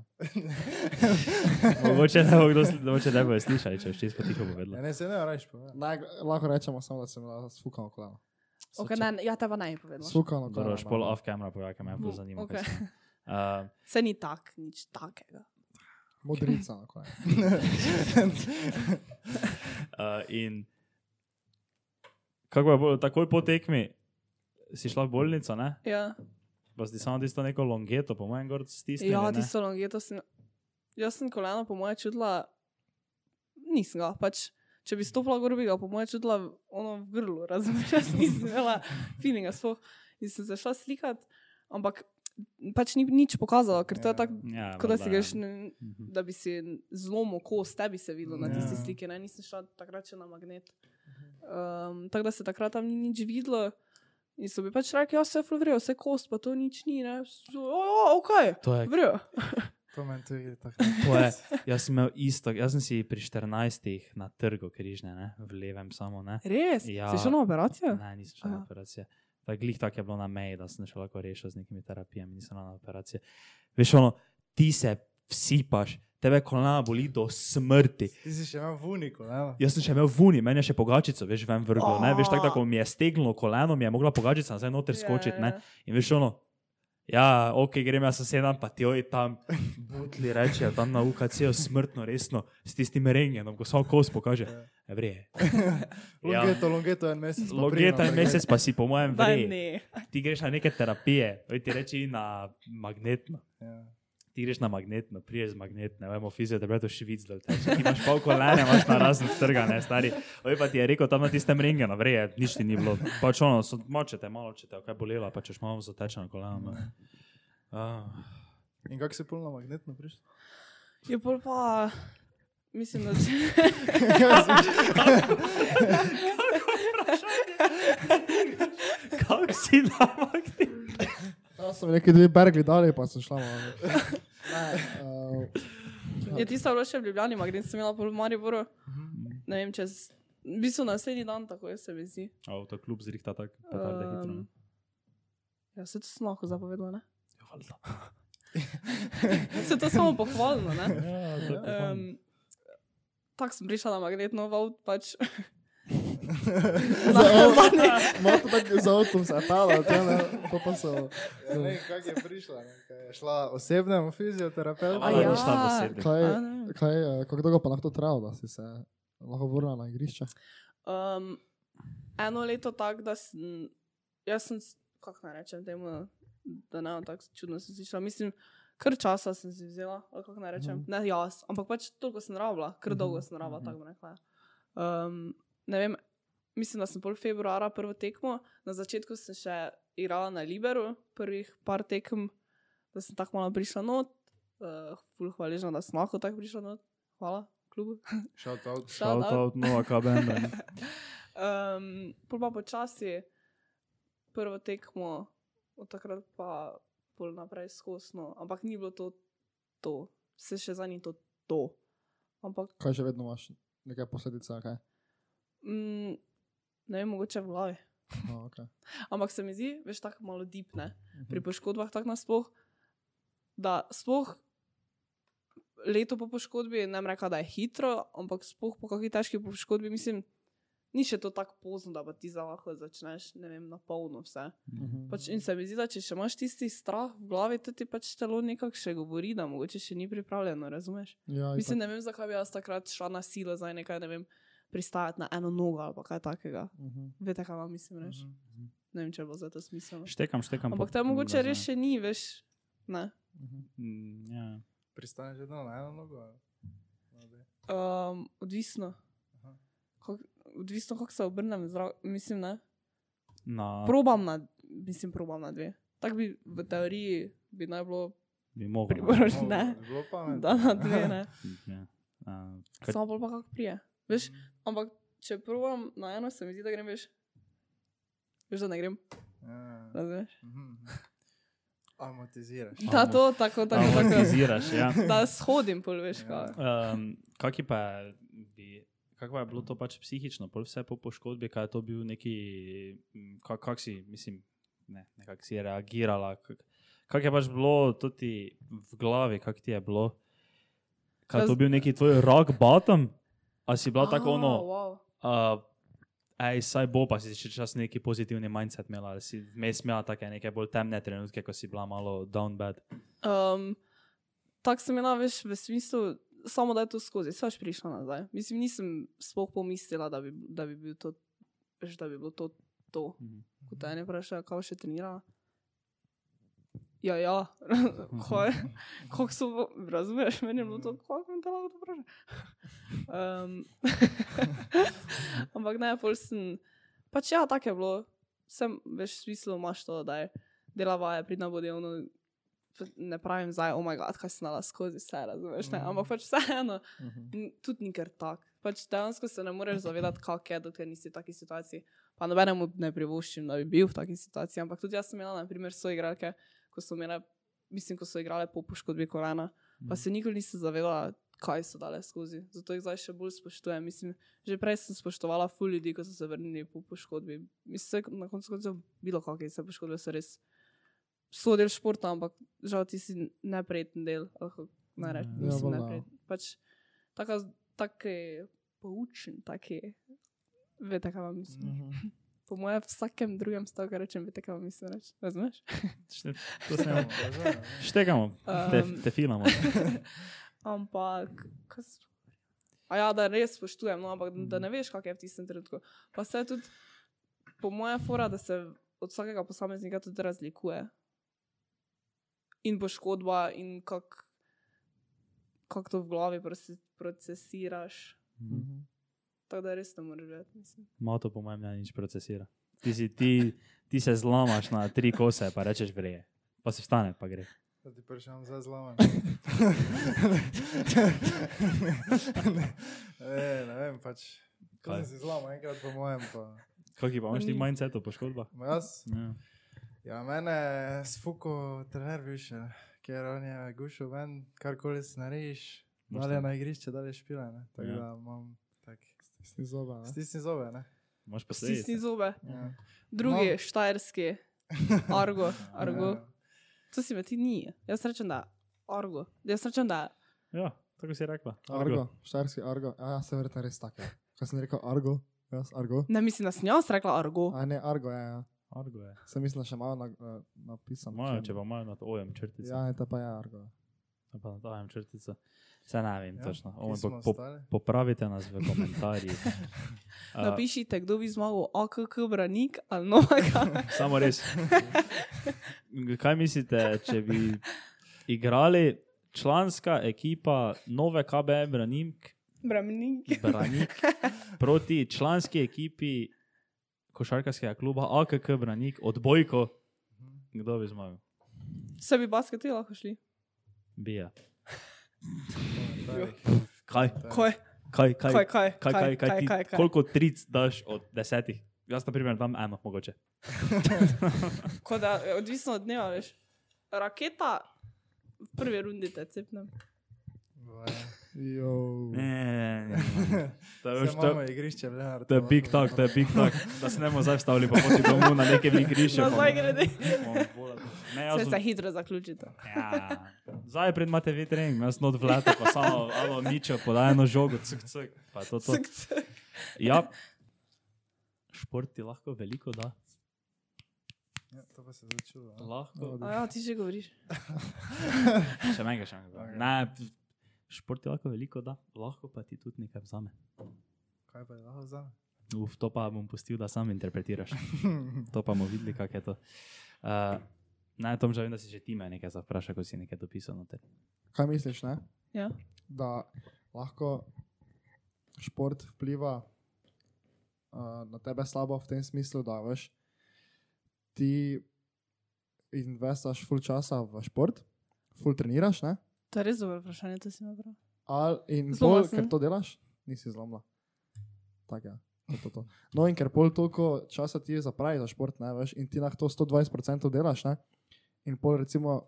Speaker 3: Mogoče ne bo kdo sli- mogoče ne bojo slišali, če boš čisto tiho povedala.
Speaker 1: [laughs]
Speaker 4: Ja, Ne, ne, se ne, rajš povedati.
Speaker 2: Naj, lahko rečemo samo, da sem bila sfukana kolena.
Speaker 1: Okay, ne, ja, teba naj povedala.
Speaker 2: Sfukana
Speaker 3: Dobro,
Speaker 2: kolena.
Speaker 3: boš pol off camera povedala, kaj me bolj
Speaker 1: Mm,
Speaker 3: zanima.
Speaker 1: okej.
Speaker 3: kaj se- Uh,
Speaker 1: Se ni tak, nič takega.
Speaker 2: Modrica na kolena.
Speaker 3: uh, in kako je bilo, takoj po tekmi si šla v bolnico, ne?
Speaker 1: Ja,
Speaker 3: Pa si samo tisto neko longeto, po mojem, gor stisnila.
Speaker 1: ja tisto longeto sem. Jaz sem koleno, po moje, čutila, nisem ga. Pač, če bi stopila gor, bi ga, po moje, čutila v- ono v grlu, [laughs] razumeli, jaz nisem imela feelinga sploh. In sem se šla slikati, ampak pač ni nič pokazalo, ker to je
Speaker 4: Ja.
Speaker 1: tako,
Speaker 3: Ja,
Speaker 1: kot da
Speaker 3: valjda,
Speaker 1: si
Speaker 3: ja.
Speaker 1: greš, ne-
Speaker 3: Mhm.
Speaker 1: da bi si zlomil kost, tebi se videlo na tisti
Speaker 4: Ja.
Speaker 1: sliki, ne? nisem šla takrat še na magnet. Um, tako da se takrat tam ni nič videlo. In so mi pač rekli, ja, vse je fluvrijo, vse kost, pa to nič ni, ne. So, O, o, ok,
Speaker 3: To je
Speaker 1: vrijo.
Speaker 4: [laughs] To meni to igre tako.
Speaker 3: To
Speaker 1: [laughs]
Speaker 3: je, jaz sem imel isto, jaz sem si pri 14 na trgu križne, ne? v levem samo. Ne,
Speaker 1: Res?
Speaker 3: Ja.
Speaker 1: Ja. Si šel na operacijo?
Speaker 3: ne nisem šel na
Speaker 1: Aha.
Speaker 3: operacije. Tako glih tako je bilo na meji, da sem še lahko rešil z nekimi terapijami, nisem šel na operacije. Veš, ono, ti se vsipaš, tebe kolena boli do smrti.
Speaker 4: Ti si še imel v uniku, ne?
Speaker 3: Jaz sem še imel vuni, meni je še pogačico, veš, vem vrgo. Ne? Veš, tako da ko mi je steglo koleno, mi je mogla pogačica nazaj
Speaker 1: Ja,
Speaker 3: noter skočiti. ne. In veš, ono, ja, ok, grem jaz sosedam, pa ti oj tam, butli rečejo, tam na UKC-ju smrtno, resno, s tistim rengenom, ko samo kos pokaže. "E, Vre. Ja.
Speaker 4: Longeto, longeto en mesec. pa
Speaker 3: Logeta
Speaker 4: prino,
Speaker 3: je mesec, pa si po mojem
Speaker 1: Da,
Speaker 3: vre.
Speaker 1: ja. ne.
Speaker 3: Ti greš na neke terapije, oj ti reči na magnetno.
Speaker 4: Ja.
Speaker 3: Ti greš na magnetno, priješ z magnetno, vemo, fizioterapeut švic, da te če imaš pol kolena, imaš na razen trga, ne stari. Oj pa ti je rekel tam na tistem rengenu, vre, nič ti ni bilo. Pač ono, so- močete, malo če te, kaj bolela, pa češ malo zatečeno koleno. ne. Ah.
Speaker 4: In kako si polno magnetno prišel?
Speaker 1: Je pol pa, mislim, da če...
Speaker 3: Kako si namak ti?
Speaker 2: Ja, sem neki dve bergli dali, pa sem šla malo. Ne, uh,
Speaker 1: [laughs] Je tisto bilo še v Ljubljani, magnet sem imela pol v Mariboru,
Speaker 3: Mhm.
Speaker 1: ne vem, čez... V bistvu naslednji dan, tako je se mi zdi.
Speaker 3: Avto kljub zrihta tako, pa tako da hitro.
Speaker 1: Ehm, Ja, se to sem lahko zapovedala, ne? [laughs] Se to samo pohvalno,
Speaker 3: Ja,
Speaker 1: ne? Um, Tako sem prišla na magnetno avt, pač
Speaker 2: Malo tako za avtom se je palo, pa pa so.
Speaker 4: Ja, ne, kako je prišla? Ne? Kaj je šla osebnemu fizioterapeutu?
Speaker 1: A ja.
Speaker 2: Kaj,
Speaker 1: A ne.
Speaker 2: kaj, eh, kako dolgo pa lahko to traja, da si se lahko vrnila na igrišče?
Speaker 1: Um, eno leto tako, da sem, jaz sem, s- kako naj rečem, temu, da ne, tako čudno sem slišala. Mislim, kar časa sem si vzela, ali kako naj rečem.
Speaker 2: Mhm.
Speaker 1: Ne jaz, ampak pač toliko sem rabila, kar
Speaker 2: Mhm,
Speaker 1: dolgo sem rabila,
Speaker 3: mhm.
Speaker 1: tako bi rekla. ja. Um, ne vem, mislim, da sem pol februara prvo tekmo, na začetku sem še igrala na Liberu, prvih par tekem, da sem tako malo prišla not, uh, ful hvaležna, da sem lahko tako prišla not. Hvala, klubu.
Speaker 4: Shout out.
Speaker 1: Shout out.
Speaker 3: nova kabenda.
Speaker 1: Um, pol pa počasi, prvo tekmo, od takrat pa pol naprej skosno. Ampak ni bilo to, to. se še za ni to. to. Ampak
Speaker 2: Kaj še vedno imaš? Nekaj posledic, ali kaj?
Speaker 1: mm, ne vem, mogoče v glavi.
Speaker 2: No,
Speaker 3: [laughs]
Speaker 2: okay.
Speaker 1: Ampak se mi zdi, veš, tako malo dipne. Pri poškodbah tako nasploh, da sploh leto po poškodbi, ne bom rekla, da je hitro, ampak sploh po kakšni težki poškodbi, mislim, ni še to tako pozno, da pa ti za lahko začneš, ne vem, na polno vse.
Speaker 3: Mhm.
Speaker 1: Pač in se mi zdi, da če še imaš tisti strah v glavi, to ti pač telo nekako še govori, da mogoče še ni pripravljeno, razumeš?
Speaker 2: Ja, itak.
Speaker 1: Mislim, ne vem, zakaj bi jaz takrat šla na silo, zdaj nekaj, ne vem, pristajati na eno nogo ali pa kaj takega.
Speaker 2: Mhm.
Speaker 1: Veste, kaj vam mislim reči?
Speaker 4: Mhm.
Speaker 1: Ne vem, če bo za to smiselno.
Speaker 3: Štekam, štekam.
Speaker 1: Ampak tam mogoče res še ni, veš. Ne.
Speaker 2: mhm,
Speaker 3: Ja.
Speaker 4: Pristaneš vedno na eno nogo. ja. ali? No, daj.
Speaker 1: Um, odvisno.
Speaker 4: Aha.
Speaker 1: Kak, odvisno, kako se obrnem, zra, mislim, ne.
Speaker 3: Na,
Speaker 1: Probam na, mislim, probam na dve. Tako bi v teoriji bi naj bilo
Speaker 3: bi mogel. no,
Speaker 1: priporočeno,
Speaker 4: Nogo,
Speaker 1: ne,
Speaker 4: bi Bilo pametno.
Speaker 1: da na dve, ne.
Speaker 3: Ja. A, kaj- Mm.
Speaker 1: Samo bolj pa kako prije. Veš, ampak če probam na eno, se mi zdi, da grem, veš. Veš, da ne grem,
Speaker 4: Ja.
Speaker 1: razumeš?
Speaker 4: Mhm. Amortiziraš.
Speaker 1: Da, to tako, tako, tako.
Speaker 3: Amortiziraš, ja.
Speaker 1: Da shodim, pol veš,
Speaker 4: Ja.
Speaker 1: kaj.
Speaker 3: Um, kak je pa, bi, kak pa je bilo to pač psihično, pol vse po poškodbi, kaj je to bil neki, kako kak si, mislim, ne, nekako si reagirala. Kako kak je pač bilo tudi v glavi, kako ti je bilo? Kaj je to
Speaker 1: Jaz-
Speaker 3: bil neki tvoj rock bottom? A si bila
Speaker 1: Ah,
Speaker 3: tako ono?
Speaker 1: Wow.
Speaker 3: Uh, Ej, saj bo, pa si še čas neki pozitivni mindset imela, ali si vmes imela take neke bolj temne trenutke, ko si bila malo down bad.
Speaker 1: Um, tako sem imela, veš, v smislu, samo da je to skozi, sva še prišla nazaj. Mislim, nisem sploh pomislila, da bi, da bi, bil to, veš, da bi bilo to to.
Speaker 3: Mhm.
Speaker 1: Ko te ne vprašajo, kako še trenira. Ja, ja, [laughs] Kaj- kako so, bo- razumeš, meni je bilo to, kako sem te lahko to vprašala. Um, [laughs] ampak ne, pol sem, pač ja, tako je bilo, sem, veš, v smislu imaš to, da je delava je pridna bodevno, ne pravim zdaj, oh moj god, kaj sem nala skozi, vse razumeš, ne, ampak pač vseeno,
Speaker 2: mhm.
Speaker 1: n- tudi nikar tak. Pač dejansko se ne moreš zavedati, kak je, dokler nisi v taki situaciji. Pa nobenemu ne privoščim, da bi bil v taki situaciji, ampak tudi jaz sem imela, na primer, soigralke, ko so imele, mislim, ko so igrale po poškodbi kolena,
Speaker 2: Mhm.
Speaker 1: pa se nikoli nisem zavedala, kaj so dale skozi. Zato jih zdaj še bolj spoštujem. Mislim, že prej sem spoštovala ful ljudi, ko so se vrnili po poškodbi. Mislim, saj na koncu koncev bilo kakšne se poškodbe so res. So del športa, ampak žal ti si nepreten del, lahko naj rečem,
Speaker 2: Ja,
Speaker 1: mislim,
Speaker 2: valjda.
Speaker 1: nepreten. Pač taka, tak je poučen, tak je. Veste, kaj vam mislim.
Speaker 2: Mhm.
Speaker 1: Po mojem, vsakem drugem stavku rečem, veste, kaj vam mislim reči. Razumeš?
Speaker 3: Šte- to se [laughs] ne- Štegamo, te,
Speaker 1: Um.
Speaker 3: te filmamo.
Speaker 1: Ampak, kaj se sploh. A ja, da res spoštujem, no, ampak da ne veš, kak je v tistem trenutku. Pa se je tudi, po mojem, fora, da se od vsakega posameznika tudi razlikuje. In poškodba, in kako kak to v glavi proces- procesiraš. Tako da res ne moreš vedeti, mislim.
Speaker 3: Malo to Mhm. po mojem mnenju nič procesira. Ti, si, ti, ti se zlamaš na tri kose, pa rečeš vreje. Pa se vstane, pa gre.
Speaker 4: Da ti prišam za zlamen. Ne, ne vem, pač.
Speaker 3: Kaj?
Speaker 4: Kaj si zlama, enkrat po mojem. Pa.
Speaker 3: Kaj pa imaš ti mindset o poškodbah?
Speaker 4: Ma Jaz,
Speaker 3: Ja.
Speaker 4: ja, mene je sfuko trener više, ker on je gušil ven, karkoli si narediš,
Speaker 3: Moš
Speaker 4: dalje
Speaker 3: to.
Speaker 4: na igrišče, dalje špila. ne. Tako
Speaker 3: Ja.
Speaker 4: da imam tak.
Speaker 2: Stisni zobe. ne?
Speaker 4: Stisni zobe, ne?
Speaker 3: Imaš
Speaker 1: Stisni
Speaker 3: posledice.
Speaker 1: zobe.
Speaker 4: Ja.
Speaker 1: Drugi,
Speaker 4: No.
Speaker 1: no.
Speaker 4: [laughs]
Speaker 1: štajerski, argo, argo.
Speaker 4: Ja.
Speaker 1: To si me ti ni. Jaz rečem, da je argo. Jaz rečem, da je
Speaker 3: Ja, tako si rekla.
Speaker 2: Argo, štajerski argo. A ja, se verjetno res tako. je. Kaj sem rekel, argo? Jaz, argo.
Speaker 1: Ne mislim, da sem jaz rekla argo.
Speaker 2: A ne, argo, ja, ja.
Speaker 3: Argo je.
Speaker 2: Sem mislila še malo na, eh, napisano.
Speaker 3: Moja, če pa imajo nad ojem črtico.
Speaker 2: Ja,
Speaker 3: Ja.
Speaker 2: ne, ta pa je argo.
Speaker 3: Pa nad ojem črtico. Se ne vem ja, točno.
Speaker 4: kje
Speaker 3: Ojem,
Speaker 4: smo
Speaker 3: po, po,
Speaker 4: ostali?
Speaker 3: popravite nas v komentarjih. A,
Speaker 1: Napišite, kdo bi zmagal, AKK branik ali
Speaker 3: [laughs]
Speaker 1: novaka.
Speaker 3: Samo res. Kaj mislite, če bi igrali članska ekipa nove KBM Branimk,
Speaker 1: Branik.
Speaker 3: Branik proti članski ekipi košarkarskega kluba AKK Branik, odbojko? Kdo bi zmagal?
Speaker 1: Se bi basketi lahko šli.
Speaker 3: Bija.
Speaker 4: Komentarji.
Speaker 3: Kaj?
Speaker 1: Kaj?
Speaker 3: Kaj, kaj,
Speaker 1: Kaj, kaj,
Speaker 3: kaj, kaj, kaj, ti,
Speaker 1: kaj, kaj?
Speaker 3: koliko tric daš od desetih? Jaz, na primer, dam eno, mogoče.
Speaker 1: Ko da, eh, odvisno od dneva, veš. Raketa, v prvi rundi te cepnem.
Speaker 4: Boje.
Speaker 3: [laughs]
Speaker 2: Jo.
Speaker 3: Ne, ne, ne, ne. [laughs] To je
Speaker 4: Zdaj
Speaker 3: už
Speaker 4: imamo
Speaker 3: to.
Speaker 4: igrišče, Lenar.
Speaker 3: To je big talk, to je big [laughs] talk. Da se ne bomo zdaj vstavili, pa poti domov na nekem igrišču. pa
Speaker 1: Nazaj No,
Speaker 3: Ja, bomo- [laughs]
Speaker 1: grede.
Speaker 3: bomo bolj- Ne,
Speaker 1: [laughs]
Speaker 3: jaz
Speaker 1: Se se
Speaker 3: sem.
Speaker 1: hitro zaključite.
Speaker 3: Ja. Zdaj pred imate vi trening, jaz not vlada, pa samo alo ničo, podaj eno žogo, cuk, cuk. Pa to, to.
Speaker 1: Cuk, cuk.
Speaker 3: Ja. Šport ti lahko veliko da.
Speaker 4: Ja, to pa se začulo. a?
Speaker 3: Lahko.
Speaker 1: [laughs] A Ja, ti že govoriš.
Speaker 3: Še manjka, še manjka. Ne, p- šport ti lahko veliko da, lahko pa ti tudi nekaj vzame.
Speaker 4: Kaj pa je lahko
Speaker 1: [laughs]
Speaker 4: vzame?
Speaker 3: Uf, to pa bom pustil, da sam interpretiraš. To pa bomo videli, kako je to. Uh, Naj tom že vem, da si že ti me nekaj zapraša, ko si nekaj dopisal. noter.
Speaker 2: Kaj misliš, ne?
Speaker 1: Ja.
Speaker 2: da lahko šport vpliva uh, na tebe slabo v tem smislu, da veš, ti investiraš full časa v šport, full treniraš, ne?
Speaker 1: To je res dobro vprašanje, to si me prav.
Speaker 2: Al, in
Speaker 1: Zlomila
Speaker 2: bolj,
Speaker 1: sem.
Speaker 2: ker to delaš, nisi zlomila. Tak, ja. To, to, to. No, in ker pol toliko časa ti zapravi za šport, ne veš, in ti lahko to 120% delaš, ne? in pol recimo,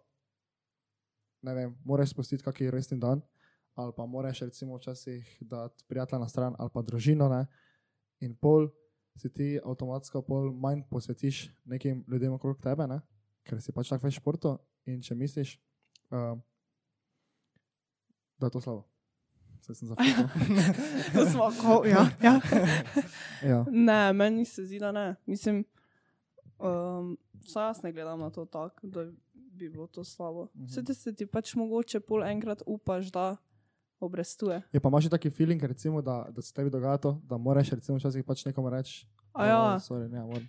Speaker 2: ne vem, moraš spustiti kakšen resni dan, ali pa moraš recimo včasih dati prijatelja na stran ali pa družino, ne? in pol se ti avtomatsko pol manj posvetiš nekim ljudem okrog tebe, ne? ker si pač tak več športu in če misliš, uh, da je to slabo. Se
Speaker 1: [laughs]
Speaker 2: sem zavedal.
Speaker 1: Ko smo, ko, ja, ja. [laughs]
Speaker 2: ja.
Speaker 1: Ne, meni se zdi, da ne. Mislim, um, vsaj jaz ne gledam na to tako, da bi bilo to slabo.
Speaker 2: Mhm.
Speaker 1: Vse te se ti pač mogoče pol enkrat upaš, da obrestuje.
Speaker 2: Je pa imaš še taki feeling, recimo, da, da se tebi dogaja to, da moraš recimo, včasih pač nekomu reči,
Speaker 1: A ja,
Speaker 2: "Oh, sorry, ne, moram.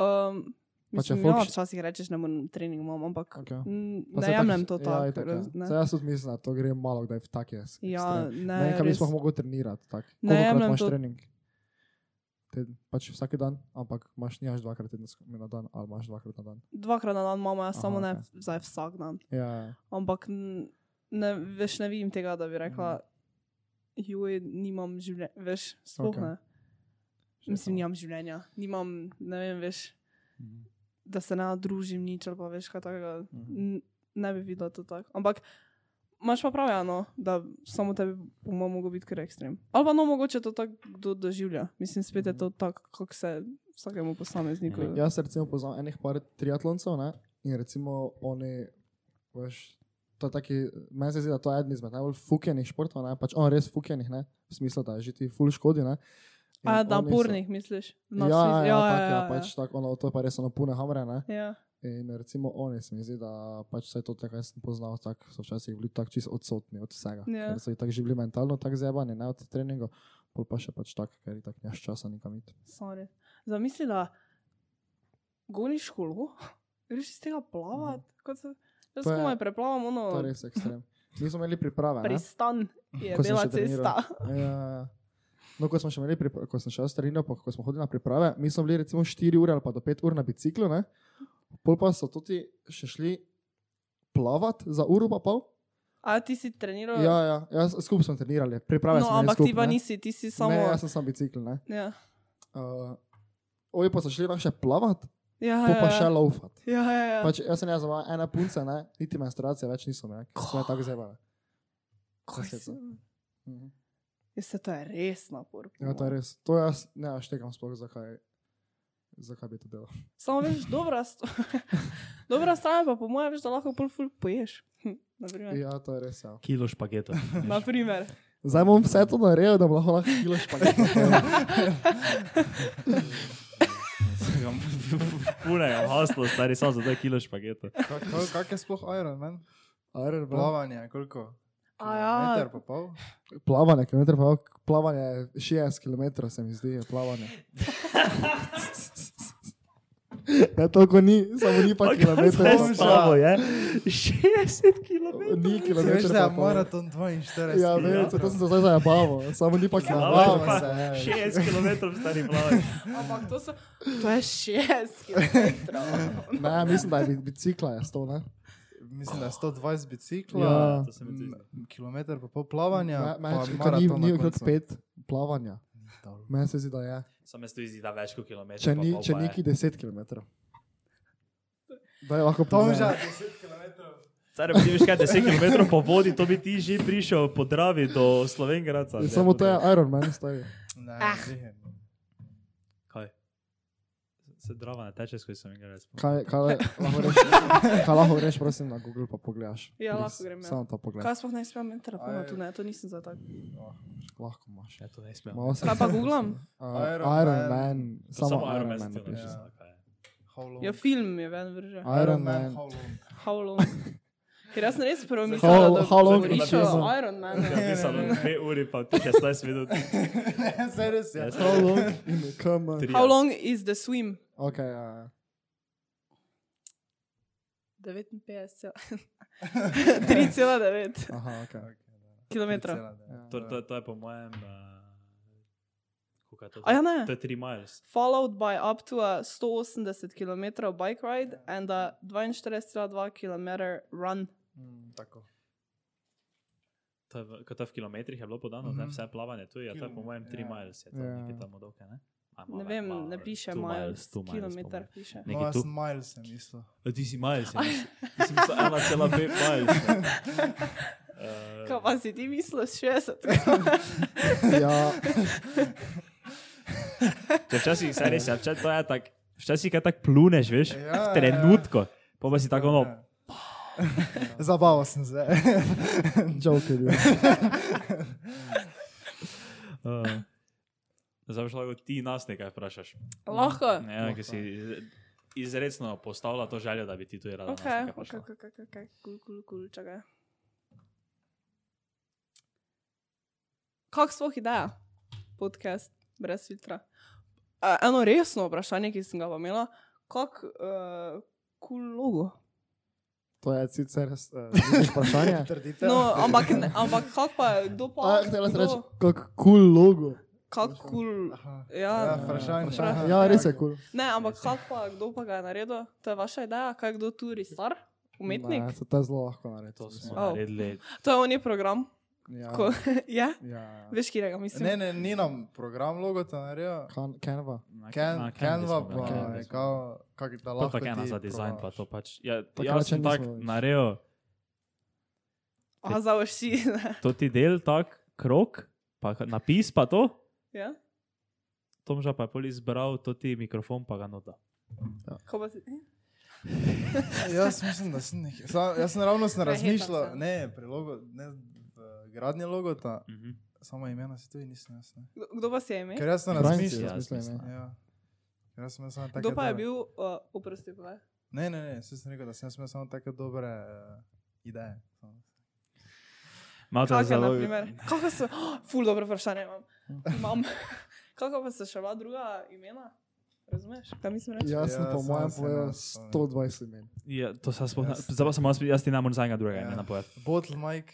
Speaker 1: um,
Speaker 2: Pa če
Speaker 1: mislim,
Speaker 2: folk
Speaker 1: ja,
Speaker 2: še-
Speaker 1: včasih rečeš, ne morem trening, imam, ampak
Speaker 2: Pač Okej.
Speaker 1: mm,
Speaker 2: Pa
Speaker 1: ne
Speaker 2: saj
Speaker 1: jemljem
Speaker 2: tako-
Speaker 1: to
Speaker 2: Ja,
Speaker 1: tako.
Speaker 2: itak,
Speaker 1: raz-
Speaker 2: ja.
Speaker 1: ne.
Speaker 2: Saj jaz tudi mislim, da to gre malo, da je v take. s-
Speaker 1: Ja,
Speaker 2: ekstreme. ne,
Speaker 1: ne,
Speaker 2: kam bi
Speaker 1: res.
Speaker 2: sploh mogel trenirati. Tak.
Speaker 1: Ne
Speaker 2: Kolikokrat
Speaker 1: jemljem
Speaker 2: imaš
Speaker 1: to-
Speaker 2: trening? Te, pač vsak dan, ampak imaš njaš dvakrat tedensko- na dan ali imaš dvakrat na dan.
Speaker 1: Dvakrat na dan imamo, jaz
Speaker 2: Aha,
Speaker 1: samo ne
Speaker 2: okej.
Speaker 1: zdaj vsak dan.
Speaker 2: Ja, ja.
Speaker 1: Ampak n- ne, veš, ne vidim tega, da bi rekla, juj, nimam življenja, veš, sploh
Speaker 2: Mhm.
Speaker 1: okay.
Speaker 2: Okej.
Speaker 1: ne.
Speaker 2: Še
Speaker 1: Mislim,
Speaker 2: samo-
Speaker 1: nimam življenja, nimam, ne vem, veš,
Speaker 2: Mhm.
Speaker 1: da se ne družim nič ali pa veš, kaj takega. N- Ne bi videla to tako. Ampak imaš pa prav, no, da samo tebi po mojem mogo biti kar ekstrem. Ali pa no, mogoče to tako kdo doživlja. Mislim, spet
Speaker 2: Mhm.
Speaker 1: je to tako, kako se vsakemu posamezniku.
Speaker 3: Ja.
Speaker 2: Jaz recimo poznam enih par triatloncev ne? in recimo oni, veš, to je taki, meni se zdi, da to je eden izmed najbolj fukenih športov, ne? pač on res fukenih, ne? v smislu, da že ti ful škodi. Ne? In
Speaker 1: A, da,
Speaker 2: ja,
Speaker 1: no,
Speaker 2: oni so-
Speaker 1: pornih, misliš?
Speaker 2: Ja,
Speaker 1: Na
Speaker 2: ja, ja,
Speaker 1: smisel-
Speaker 2: ja, ja, ja, pač tako, ono, to je pa res ono pune hamre, ne?
Speaker 1: ja.
Speaker 2: In recimo oni se mi zdi, da pač vse to, kar sem poznal, tak, so včasih bili tako čisto odsotni od vsega.
Speaker 1: Ja.
Speaker 2: Ker so jih tako že bili mentalno tako zebani, ne od treninga, pol pa še pač tako, ker jih tako njaš časa nikam iti.
Speaker 1: Sorry. Zamisli, da goniš kolo, [laughs] greš iz tega plavati, kot se jaz
Speaker 2: To je-
Speaker 1: komaj preplavam, ono,
Speaker 2: Mhm. ja, To je res ekstrem. Mi smo imeli priprave. ne? [laughs]
Speaker 1: pristan je
Speaker 2: Ko sem
Speaker 1: bila
Speaker 2: še treniral.
Speaker 1: cesta. [laughs]
Speaker 2: Ja, ja, ja. No, ko smo še imeli, pripra- ko sem še jaz trenil, pa ko smo hodili na priprave, mi smo bili recimo 4 ure ali pa do 5 ur na biciklu, ne? pol pa so tudi še šli plavat za uro pa pol.
Speaker 1: A ti si treniral?
Speaker 2: Ja, ja, jaz, skupaj smo trenirali, priprave
Speaker 1: no,
Speaker 2: smo imeli
Speaker 1: ampak
Speaker 2: skup,
Speaker 1: ti pa
Speaker 2: ne.
Speaker 1: nisi, ti si samo.
Speaker 2: Ne, jaz sem samo bicikl, ne.
Speaker 1: ja.
Speaker 2: Uh, Ovi pa so šli lahko še plavat,
Speaker 1: Ja,
Speaker 2: pol pa
Speaker 1: ja,
Speaker 2: še laufat.
Speaker 1: ja, ja, ja.
Speaker 2: Pač, jaz sem jaz za ena punca, ne? niti menstruacije več nisem, ne? ker so me tako zebale.
Speaker 1: Kaj
Speaker 2: se
Speaker 1: se-
Speaker 2: Mhm.
Speaker 1: Ja, se to je res no. napor. po
Speaker 2: Ja, to je
Speaker 1: moje.
Speaker 2: res. To jaz ne štekam sploh, zakaj, zakaj bi to delal.
Speaker 1: Samo veš, dobra, st [laughs] dobra stran je pa po mojem, veš, da lahko pol ful poješ. [laughs] Hm, Naprimer.
Speaker 2: Ja, to je res. Ja.
Speaker 3: Kilo
Speaker 2: [laughs]
Speaker 3: špagetov.
Speaker 1: Naprimer.
Speaker 2: Zdaj bom vse to naredil, da bom lahko lahko kilo špagetov.
Speaker 3: Pune, haslo, stari samo za to je kilo špagetov.
Speaker 4: Ka- ka- Kak je sploh Ironman?
Speaker 2: Iron Man.
Speaker 4: Plavanje, koliko?
Speaker 1: A ja.
Speaker 4: Meter pa pol?
Speaker 2: Plavanje, kilometer, pa, plavanje je 60 km, se mi zdi, je plavanje. Ja, toliko ni, samo ni pa kilometer.
Speaker 3: Kaj
Speaker 2: pa
Speaker 3: se s
Speaker 2: pol.
Speaker 3: tabo je? 60 km.
Speaker 2: Ni
Speaker 4: Se veš,
Speaker 2: kilometer.
Speaker 4: da je
Speaker 2: pa pol.
Speaker 4: maraton 42.
Speaker 2: Ja,
Speaker 3: ja.
Speaker 2: veš, to sem se zdaj zabaval, samo ni pa
Speaker 3: Zabaval
Speaker 2: kilometer.
Speaker 3: pa.
Speaker 2: se ja. je.
Speaker 3: 60 km stari plavi.
Speaker 1: Ampak to, so, to je šest kilometrov.
Speaker 2: Ne, mislim, da je bi- bicikla je sto, ne?
Speaker 4: Mislim, da je 120 biciklov,
Speaker 2: Ja,
Speaker 3: to se mi tudi
Speaker 4: kilometr pa pol plavanja,
Speaker 2: Me- me-
Speaker 4: pa
Speaker 2: če- to ni,
Speaker 4: maraton
Speaker 2: ni
Speaker 4: na
Speaker 2: okrog
Speaker 4: koncu.
Speaker 2: pet plavanja.
Speaker 4: Dobro.
Speaker 2: Meni se zdi, da je.
Speaker 3: Sam jaz tu izida več kot kilometer.
Speaker 2: Če ni, če neki 10 km. Da je lahko
Speaker 4: Tomža,
Speaker 2: plavanje.
Speaker 4: 10 km.
Speaker 3: Stari, ti veš kaj, 10 km po vodi, to bi ti že prišel po Dravi do Slovengraca. Ne,
Speaker 2: Ja, Samo to
Speaker 3: tukaj.
Speaker 2: je Iron Man, stavi.
Speaker 4: Ne,
Speaker 1: Ah.
Speaker 4: ziher.
Speaker 3: Kaj? Se Drava ne teče skozi Slovengrac.
Speaker 2: Kaj, kaj, lahko reš, kaj lahko reš, prosim, na Google pa pogledaš.
Speaker 1: Ja,
Speaker 2: Res,
Speaker 1: lahko grem, ja.
Speaker 2: Samo to pogledaj.
Speaker 1: Kaj sploh ne smem imeti telefona,
Speaker 4: Aj.
Speaker 1: tu ne, to nisem za tak.
Speaker 2: Lahko imaš.
Speaker 3: Ja, to ne smem.
Speaker 2: Malo se-
Speaker 1: Kaj pa googlam?
Speaker 2: Uh, Iron,
Speaker 4: Iron
Speaker 2: Iron Man,
Speaker 4: Man.
Speaker 2: Man samo,
Speaker 3: Samo Iron Man.
Speaker 2: Man.
Speaker 3: si ti
Speaker 2: napiši.
Speaker 3: napiši,
Speaker 4: Ja.
Speaker 3: kaj je.
Speaker 4: How long?
Speaker 1: Ja, film je ven vrže.
Speaker 2: Iron Man.
Speaker 4: how long? [laughs]
Speaker 1: How long? Ker jaz sem res prvo mislil,
Speaker 2: How-
Speaker 1: da
Speaker 2: how long
Speaker 1: govoriš
Speaker 2: je
Speaker 1: o
Speaker 2: napisano?
Speaker 1: Iron Manu.
Speaker 3: Ja, pisano 2 uri pa 16 minut.
Speaker 4: Ne, saj res ja. je.
Speaker 1: Ja,
Speaker 3: Jaz
Speaker 2: How long in the come?
Speaker 3: Tri.
Speaker 1: How long is the swim?
Speaker 2: Ok, ja. ja.
Speaker 1: [laughs] 59. 3,9
Speaker 2: Aha,
Speaker 4: [laughs]
Speaker 2: ok.
Speaker 1: km.
Speaker 4: Ja.
Speaker 3: To, to, to je po mojem. Uh, to,
Speaker 1: A ja, ne.
Speaker 3: to je 3 miles.
Speaker 1: Followed by up to a 180 km bike ride and a 42,2 km run.
Speaker 4: Mm, Tako.
Speaker 3: To je, v- ko to je v kilometrih je bilo podano, mm
Speaker 4: Mhm.
Speaker 3: -hmm. vse plavanje tu je, to je po mojem 3
Speaker 4: Ja.
Speaker 3: miles, je to
Speaker 2: Ja.
Speaker 3: yeah. nekaj tam odokaj, ne? A, malo
Speaker 1: Ne
Speaker 3: več,
Speaker 1: vem,
Speaker 3: malo
Speaker 1: ne
Speaker 3: več.
Speaker 1: piše
Speaker 3: Two
Speaker 1: miles,
Speaker 3: two miles po
Speaker 1: kilometer
Speaker 3: mojem.
Speaker 1: piše.
Speaker 3: Nekaj
Speaker 4: No, jaz
Speaker 3: tu.
Speaker 4: sem miles, sem mislil.
Speaker 3: A Ti si
Speaker 1: [laughs]
Speaker 3: miles, ja. ti si mislil 1,5 miles. ja.
Speaker 1: Kaj
Speaker 3: Uh,
Speaker 1: pa si ti mislil s 60?
Speaker 2: Ja,
Speaker 3: Če včasih se res, ja, včasih to je tako, včasih je tako pluneš, veš, v
Speaker 4: Ja, ja.
Speaker 3: trenutku. Pa pa si tako, no,
Speaker 4: Ja. [laughs] Zabaval sem
Speaker 1: [laughs]
Speaker 4: se.
Speaker 2: Joker. je.
Speaker 1: Ja.
Speaker 3: uh, zdaj boš lahko ti nas nekaj vprašaš.
Speaker 1: Lahko.
Speaker 3: Ja, ki si iz- izrecno postavila to željo, da bi ti tudi rada. nas
Speaker 1: Ok,
Speaker 3: nekaj
Speaker 1: ok,
Speaker 3: vprašala.
Speaker 1: ok, ok, ok, kul, kul, kul, čakaj. Kak sploh ideja? Podcast brez filtra. A, eno resno vprašanje, ki sem ga pa imela, kak uh, kul logo?
Speaker 2: To je sicer [laughs] uh, vprašanje.
Speaker 4: Trditev.
Speaker 1: No, ampak, ne, ampak kak pa, je, kdo pa?
Speaker 2: A, htela Ah, sem
Speaker 1: kdo-
Speaker 2: reči, kako kul cool logo.
Speaker 1: Kak kul,
Speaker 4: Aha. Ja,
Speaker 1: ja.
Speaker 4: vprašanje.
Speaker 1: Vprašanje.
Speaker 4: Aha,
Speaker 2: Ja, res je
Speaker 4: tako.
Speaker 2: kul. Cool.
Speaker 1: Ne, ampak kak pa, kdo pa ga je naredil? To je vaša ideja, kaj kdo tu risar? Umetnik?
Speaker 2: Ne, se to je zelo lahko narediti.
Speaker 3: To smo
Speaker 2: mislim.
Speaker 1: Oh.
Speaker 3: naredili.
Speaker 1: To je on je program,
Speaker 2: Ja,
Speaker 1: ko, [laughs] ja?
Speaker 2: ja,
Speaker 1: [laughs]
Speaker 2: ja.
Speaker 1: Veš, kje ga mislim?
Speaker 4: Ne, ne, ni nam program logota naredil.
Speaker 2: Kan- Canva.
Speaker 3: Na- na
Speaker 4: Ken,
Speaker 3: Canvi
Speaker 4: Canva
Speaker 3: smo ga
Speaker 4: pa
Speaker 3: naredili.
Speaker 4: je kao, kak da
Speaker 3: To
Speaker 4: lahko
Speaker 3: pa je ena
Speaker 4: ti
Speaker 3: za dizajn, pa
Speaker 4: probaš.
Speaker 3: to pač. Ja,
Speaker 2: Takrat
Speaker 3: jaz
Speaker 2: še
Speaker 3: sem tak
Speaker 2: nismo več.
Speaker 3: naredil
Speaker 1: Aha, za [laughs] oši.
Speaker 3: to ti del, tak krok, pa ka- napis pa to.
Speaker 1: Ja?
Speaker 3: Tomža pa je pol izbral to ti mikrofon, pa ga nota.
Speaker 1: Ko pa si...
Speaker 4: Jaz mislim, da sem nekaj. Sa, jaz sem ravno sem
Speaker 1: Prehitel
Speaker 4: razmišljal,
Speaker 1: sem.
Speaker 4: ne, pri logo, ne, v gradnji logota,
Speaker 3: Mhm.
Speaker 4: samo imena si tudi nisem jaz. Ne.
Speaker 1: Kdo- Kdo pa si je imel?
Speaker 4: Ker jaz sem
Speaker 2: Franci,
Speaker 4: razmišljal.
Speaker 2: jaz mislim,
Speaker 3: jaz
Speaker 2: ne.
Speaker 4: Ja. Ker jaz sem imel samo
Speaker 1: Kdo
Speaker 4: take
Speaker 1: pa je
Speaker 4: dobre-
Speaker 1: bil, uh, oprosti, povej.
Speaker 4: Ne, ne, ne, saj sem rekel, da sem jaz imel samo take dobre uh, ideje.
Speaker 3: Malo te
Speaker 1: Kakšne, na
Speaker 3: zelo.
Speaker 1: primer? Kako so... [gasps] Oh, ful, dobro vprašanje imam. imam. [laughs] Kako pa so še bila druga imena? Razumeš, kaj mislim reči?
Speaker 2: Jaz sem
Speaker 4: Ja,
Speaker 2: po
Speaker 4: samo
Speaker 2: mojem
Speaker 4: se
Speaker 2: povedal
Speaker 4: ne spomnim.
Speaker 2: 120 imen.
Speaker 3: Ja, to se spomnim.
Speaker 4: Jaz-
Speaker 3: Zdaj pa sem jaz, jaz ti ne morem zadnjega drugega
Speaker 4: Ja.
Speaker 3: imena povedati.
Speaker 4: Bottle Mike,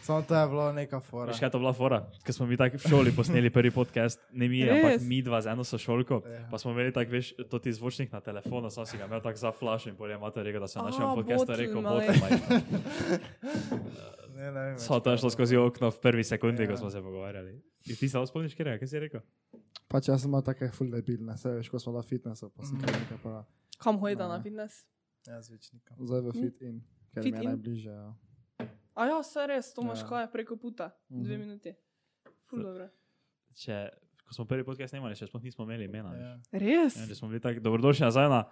Speaker 4: samo to je bila neka fora.
Speaker 3: Veš kaj je to bila fora, ker smo mi tako v šoli posneli prvi podcast, ne mi, Res? ampak
Speaker 1: Res?
Speaker 3: mi dva z eno sošolko,
Speaker 4: Ja.
Speaker 3: pa smo imeli tak, veš, to ti zvočnik na telefonu, sam si ga imel tako za flash in pol je mater rekel, da sem
Speaker 1: Aha,
Speaker 3: našel podcast,
Speaker 1: bottle
Speaker 3: rekel,
Speaker 1: mic.
Speaker 4: [laughs]
Speaker 3: bottle.
Speaker 4: Ne, ne vem. več,
Speaker 3: Samo to
Speaker 4: kaj
Speaker 3: je šlo skozi okno v prvi sekundi,
Speaker 4: no. Ja.
Speaker 3: ko smo se pogovarjali. In ti se spomniš, kjer je, kaj si rekel?
Speaker 2: Pač jaz sem imel take full debilne, se veš, ko smo na fitnessu, pa sem
Speaker 4: Mhm.
Speaker 2: kaj nekaj pa
Speaker 1: Kam hojda na
Speaker 2: Ne.
Speaker 1: fitness?
Speaker 4: Jaz več nikam.
Speaker 2: zdaj v fit in,
Speaker 1: Mhm.
Speaker 2: ker
Speaker 1: Fit
Speaker 2: mi je
Speaker 1: in?
Speaker 2: najbližje. Ja.
Speaker 1: A ja, vse res, to imaš
Speaker 2: Ja.
Speaker 1: kaj preko puta. Dve
Speaker 2: Mhm.
Speaker 1: minuti. Ful, dobro.
Speaker 3: Če, ko smo prvi podcast snemali, še sploh nismo imeli imena. veš.
Speaker 4: Ja. [laughs]
Speaker 1: Res?
Speaker 3: Ja, če smo bili tako dobrodošli nazaj na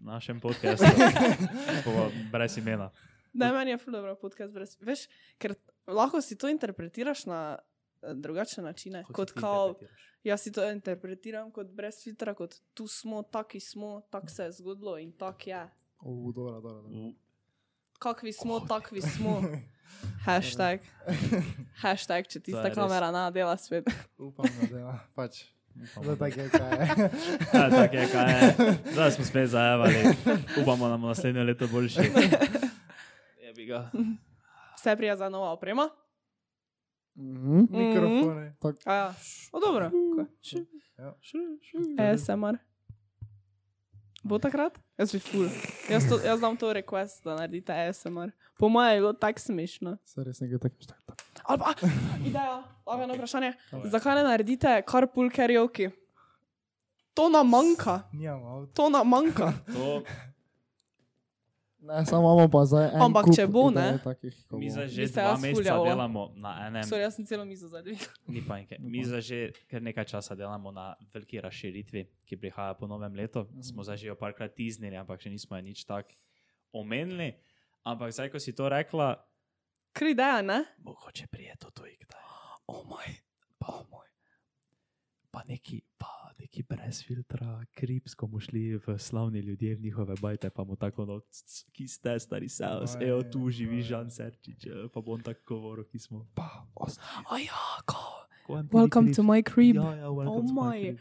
Speaker 3: našem
Speaker 4: [laughs]
Speaker 3: podkastu, Tako, brez imena.
Speaker 1: Ne, meni je ful dobro podcast brez. Veš, ker lahko si to interpretiraš na eh, drugačne načine,
Speaker 3: Kako
Speaker 1: kot
Speaker 3: ti
Speaker 1: kao
Speaker 3: interpretiraš?
Speaker 1: Jaz si to interpretiram kot brez filtra, kot tu smo, taki smo, tako se je zgodilo in tako je.
Speaker 2: U, dobro, dobro. dobro.
Speaker 3: V-
Speaker 1: Kakvi smo, takvi smo.
Speaker 3: [laughs]
Speaker 1: Hashtag. Hashtag, če
Speaker 3: To
Speaker 1: tista
Speaker 3: je res.
Speaker 1: kamera na dela svet.
Speaker 4: Upam, da dela. Pač.
Speaker 3: upamo.
Speaker 4: Zdaj tako je, kaj je.
Speaker 3: Ja, tako je, kaj je. Zdaj smo spet zajavali. Upamo, da bo naslednje leto boljše. Jebi ga.
Speaker 1: Vse prija za nova oprema.
Speaker 2: Mhm.
Speaker 4: [laughs] Mikrofone.
Speaker 1: A Ja. O, dobro. ko-
Speaker 3: Ja.
Speaker 1: Ja. ASMR. Bo takrat? Jaz bi ful. Jaz, to, jaz dam to request, da naredite ASMR. Po mojem je bilo tako smešno.
Speaker 2: Se res nekaj tako šteta.
Speaker 1: Ali pa, ah, ideja, lahko eno vprašanje.
Speaker 3: Kaj?
Speaker 1: Zakaj ne naredite kar pul karaoke? To nam manjka,
Speaker 4: Nijam avto.
Speaker 1: to nam manjka.
Speaker 3: To
Speaker 2: Ne, samo imamo pa zdaj en
Speaker 1: Ampak
Speaker 2: kup
Speaker 1: če bo,
Speaker 2: idej
Speaker 1: ne.
Speaker 2: Takih, ko
Speaker 3: mi
Speaker 2: bo.
Speaker 3: za že
Speaker 1: Bi se
Speaker 3: dva
Speaker 1: jaz
Speaker 3: meseca
Speaker 1: fuljala.
Speaker 3: delamo na enem.
Speaker 1: Sorry, jaz sem celo mizo zadvigla.
Speaker 3: Ni panike. Mi za že kar nekaj časa delamo na veliki razširitvi, ki prihaja po novem letu. Smo zdaj že jo parkrat tiznili, ampak še nismo je nič tako omenili. Ampak zdaj, ko si to rekla,
Speaker 1: [laughs] Kri ideja, ne?
Speaker 3: mogoče prije to tudi kdaj. O oh moj, pa o oh moj. Pa neki, pa neki brez filtra, kripsko mu šli v slavni ljudje v njihove bajte, pa mu tako noč, ki ste stari seos,
Speaker 4: Oj,
Speaker 3: evo tu živi
Speaker 4: oj.
Speaker 3: Žan Serčič, eh, pa bom tako govoril, ki smo. Pa, ostali.
Speaker 1: Aja, ja, ko.
Speaker 3: Ko en
Speaker 1: Welcome
Speaker 3: pride
Speaker 1: to my crib.
Speaker 3: Ja, ja, welcome
Speaker 1: Oh
Speaker 3: to my
Speaker 1: moj.
Speaker 3: crib.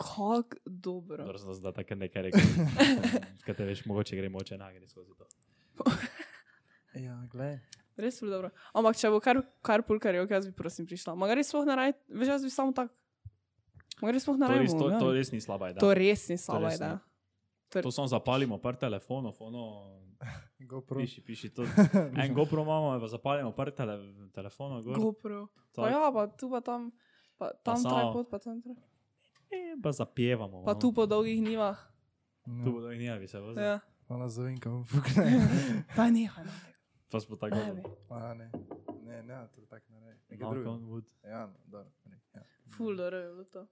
Speaker 1: Kak dobro.
Speaker 3: Dobro, sem zdaj tako nekaj
Speaker 1: [laughs]
Speaker 3: rekel. Kaj te veš, mogoče gremo oče nagri skozi to.
Speaker 4: Ja, glej.
Speaker 1: Res ful dobro. Ampak če bo kar, kar pul karaoke, jaz bi prosim prišla. Magar res sploh naraj, veš, jaz bi samo tak. Magar res sploh
Speaker 3: To
Speaker 1: naraj.
Speaker 3: res, to, to res ni slaba ideja.
Speaker 1: to res ni slaba
Speaker 3: res
Speaker 1: ideja.
Speaker 3: To samo zapalimo par telefonov, ono,
Speaker 4: GoPro.
Speaker 3: Piši, piši to.
Speaker 4: [laughs]
Speaker 3: En GoPro imamo, pa zapalimo par tele, telefonov. Gor,
Speaker 1: GoPro.
Speaker 3: tako,
Speaker 1: Pa ja, pa tu pa tam, pa tam
Speaker 3: samo-
Speaker 1: traj pot, pa tam traj.
Speaker 3: e, pa zapievamo.
Speaker 1: Pa tu po dolgih nivah.
Speaker 3: no. tu bodo in javi se vozili. Ja.
Speaker 1: Ja.
Speaker 4: Hvala za vinka, upukne.
Speaker 1: Pa nehaj. no.
Speaker 3: To smo tako.
Speaker 1: Ne, ne.
Speaker 4: [laughs] A ne, ne, ne, to tako ne. Nekaj
Speaker 3: Knock
Speaker 4: drugega.
Speaker 3: on wood.
Speaker 4: Ja, no, dobro. ne, Ja.
Speaker 1: [gasps] Ful dobro je bilo to.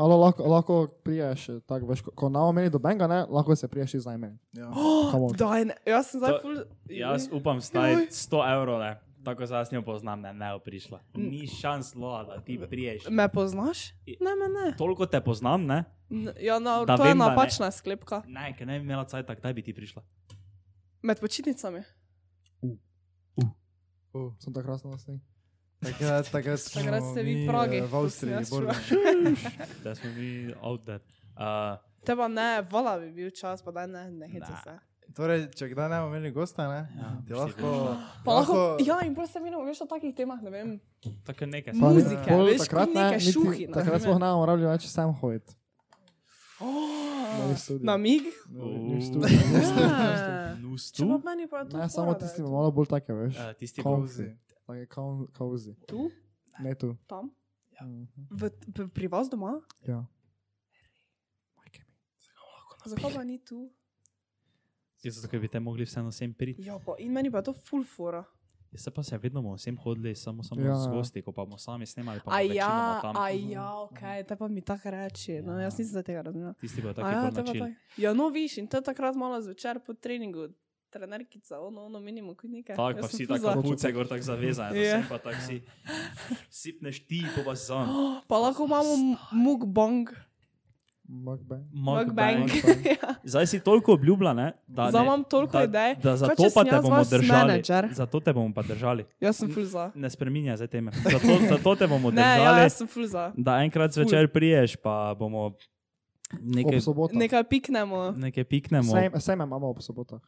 Speaker 2: Ali lahko, lahko priješ, eh, tako veš, ko- ko na omeni do benga, ne, lahko se priješ iz najmanj.
Speaker 3: [gasps]
Speaker 4: Ja.
Speaker 2: Come
Speaker 1: Oh,
Speaker 2: on.
Speaker 1: daj, ne, jaz sem zdaj
Speaker 3: To-
Speaker 1: ful.
Speaker 3: Jaz upam, staj 100 evrov, le. tako se jaz njo poznam, ne, ne bo prišla.
Speaker 1: Mm.
Speaker 3: Ni šans, lola, da ti priješ.
Speaker 1: Me poznaš? Ne, me ne.
Speaker 3: Toliko te poznam, ne?
Speaker 1: N- Ja, no,
Speaker 3: Da
Speaker 1: to je
Speaker 3: vem, da ne.
Speaker 1: napačna sklepka.
Speaker 3: Ne, ker ne bi imela cajt, kdaj bi ti prišla.
Speaker 1: Med počitnicami.
Speaker 4: Uh,
Speaker 2: Sem tako krasno nasni.
Speaker 4: takrat, takrat,
Speaker 1: Takrat
Speaker 4: smo
Speaker 1: ste vi
Speaker 4: mi,
Speaker 1: Pragi,
Speaker 4: eh,
Speaker 1: to
Speaker 4: V
Speaker 1: sem
Speaker 4: Avstriji
Speaker 1: jaz
Speaker 4: bolj.
Speaker 3: Da smo mi out there. Uh,
Speaker 1: Te pa ne, vola bi bil čas, pa da ne, ne hica
Speaker 3: Ne.
Speaker 1: se.
Speaker 4: Torej, če kdaj ne bomo imeli gosta, ne?
Speaker 3: Ja,
Speaker 4: ti
Speaker 3: boš ti
Speaker 4: lahko.
Speaker 1: Pa lahko, ja, in prosim, mi ne veš o takih temah, ne vem.
Speaker 3: tako je nekaj.
Speaker 1: Mu-
Speaker 3: Mu
Speaker 1: Muzike,
Speaker 2: Pol
Speaker 1: veš, kot neke
Speaker 2: niti-
Speaker 1: šuhi, na
Speaker 2: Takrat
Speaker 1: primer.
Speaker 2: smo na omeni več sam hoditi.
Speaker 1: Na mig?
Speaker 3: [laughs]
Speaker 1: Ja. Če pa
Speaker 3: Nustu?
Speaker 1: meni pa je [laughs] to.
Speaker 2: Ne, samo
Speaker 1: fora, da je
Speaker 2: tisti
Speaker 1: to-
Speaker 2: malo bolj take, veš.
Speaker 3: Uh, tisti
Speaker 2: Kom-
Speaker 4: Kozi.
Speaker 2: Take kaun- kauzi.
Speaker 1: Tu,
Speaker 2: Ne tu.
Speaker 1: tam, Ja.
Speaker 2: Mhm.
Speaker 1: v, v, pri vas doma?
Speaker 2: Ja.
Speaker 1: Zakaj pa ni tu?
Speaker 3: Je zato, ker bi te mogli vseeno sem priti.
Speaker 1: Ja, pa in meni pa je to ful fora.
Speaker 3: Jaz se pa se vedno bomo sem hodili, samo, samo
Speaker 2: Ja,
Speaker 3: ja. z
Speaker 2: ja.
Speaker 3: gosti, ko pa bomo sami snemali. Pa
Speaker 1: A
Speaker 3: bomo večinoma
Speaker 1: ja,
Speaker 3: tam. Mhm.
Speaker 1: a ja, ok, te pa mi tako reče. No, jaz nisem za tega razumela.
Speaker 3: Tisti bo
Speaker 1: A
Speaker 3: taki
Speaker 1: ja,
Speaker 3: bolj
Speaker 1: te pa
Speaker 3: način.
Speaker 1: tako. Ja, no, viš in to je takrat malo zvečer po treningu, trenerkica, ono, ono, minimo, kot nekaj.
Speaker 3: Tako
Speaker 1: Ja, Jaz
Speaker 3: pa
Speaker 1: sem
Speaker 3: vsi
Speaker 1: ful
Speaker 3: tako
Speaker 1: [gasps] za.
Speaker 3: puce, gor tako zavezane,
Speaker 1: Ja.
Speaker 3: yeah. pa tako si sipneš ti, pa pa zon.
Speaker 1: Pa lahko imamo mukbang.
Speaker 2: Mukbang.
Speaker 3: [laughs]
Speaker 1: Mukbang. Ja.
Speaker 3: Zdaj si toliko obljubila, ne? Da
Speaker 1: Zdaj
Speaker 3: ne-
Speaker 1: imam toliko
Speaker 3: da,
Speaker 1: idej.
Speaker 3: Da zato
Speaker 1: če sem
Speaker 3: pa te
Speaker 1: jaz
Speaker 3: bomo
Speaker 1: vas
Speaker 3: držali.
Speaker 1: menedžer?
Speaker 3: Zato te bomo pa držali.
Speaker 1: Jaz sem ful za.
Speaker 3: Ne spreminja zdaj teme.
Speaker 1: [laughs]
Speaker 3: Zato, zato te bomo
Speaker 1: Ne,
Speaker 3: držali,
Speaker 1: ja,
Speaker 3: ne, ja,
Speaker 1: jaz sem ful za.
Speaker 3: da enkrat zvečer priješ, pa bomo nekaj,
Speaker 2: Ob sobotah.
Speaker 1: Nekaj piknemo.
Speaker 3: nekaj piknemo.
Speaker 2: Sejme, sejme imamo ob sobotah.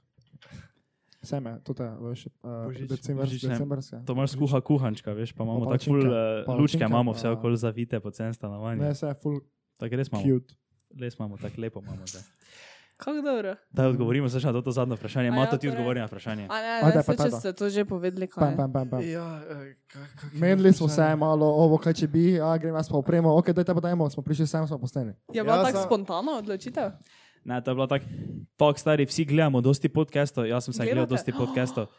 Speaker 2: Sejme, to je, veš,
Speaker 4: Božič.
Speaker 2: uh, decembr,
Speaker 3: Božične.
Speaker 2: decembrske.
Speaker 3: To imaš skuha kuhančka, veš, pa imamo
Speaker 2: Pa
Speaker 3: tako ful,
Speaker 2: palačinke.
Speaker 3: uh, lučke,
Speaker 2: Palačinke,
Speaker 3: imamo
Speaker 2: pa-
Speaker 3: vse okoli zavite po cen stanovanja.
Speaker 2: Ne, se je full
Speaker 3: Tako res imamo,
Speaker 2: cute.
Speaker 3: res imamo, tako lepo imamo. Zdaj.
Speaker 1: Kako dobro?
Speaker 3: Daj odgovorimo se še na to zadnje vprašanje.
Speaker 1: A
Speaker 3: Mato
Speaker 1: ja,
Speaker 3: ti
Speaker 1: torej.
Speaker 3: odgovori na vprašanje.
Speaker 1: A ne,
Speaker 2: Ajde,
Speaker 1: ne,
Speaker 2: pa
Speaker 1: saj, če
Speaker 2: tata.
Speaker 1: ste to že povedali, kaj
Speaker 2: Pam,
Speaker 1: je.
Speaker 2: pam, pam, pam.
Speaker 4: Ja, eh, ka- kako je
Speaker 2: Menili smo se
Speaker 4: vprašanje?
Speaker 2: malo, ovo, kaj če bi, a gremo jaz pa opremo, ok, daj te pa dajmo, smo prišli sem, smo posteli.
Speaker 1: Je bila
Speaker 4: Ja,
Speaker 1: tako
Speaker 4: za-
Speaker 1: spontana odločitev?
Speaker 3: Ne, to je bilo tako, tako stari, vsi gledamo dosti podcastov, jaz sem se gledal
Speaker 1: Gledate?
Speaker 3: dosti podcastov. [gasps]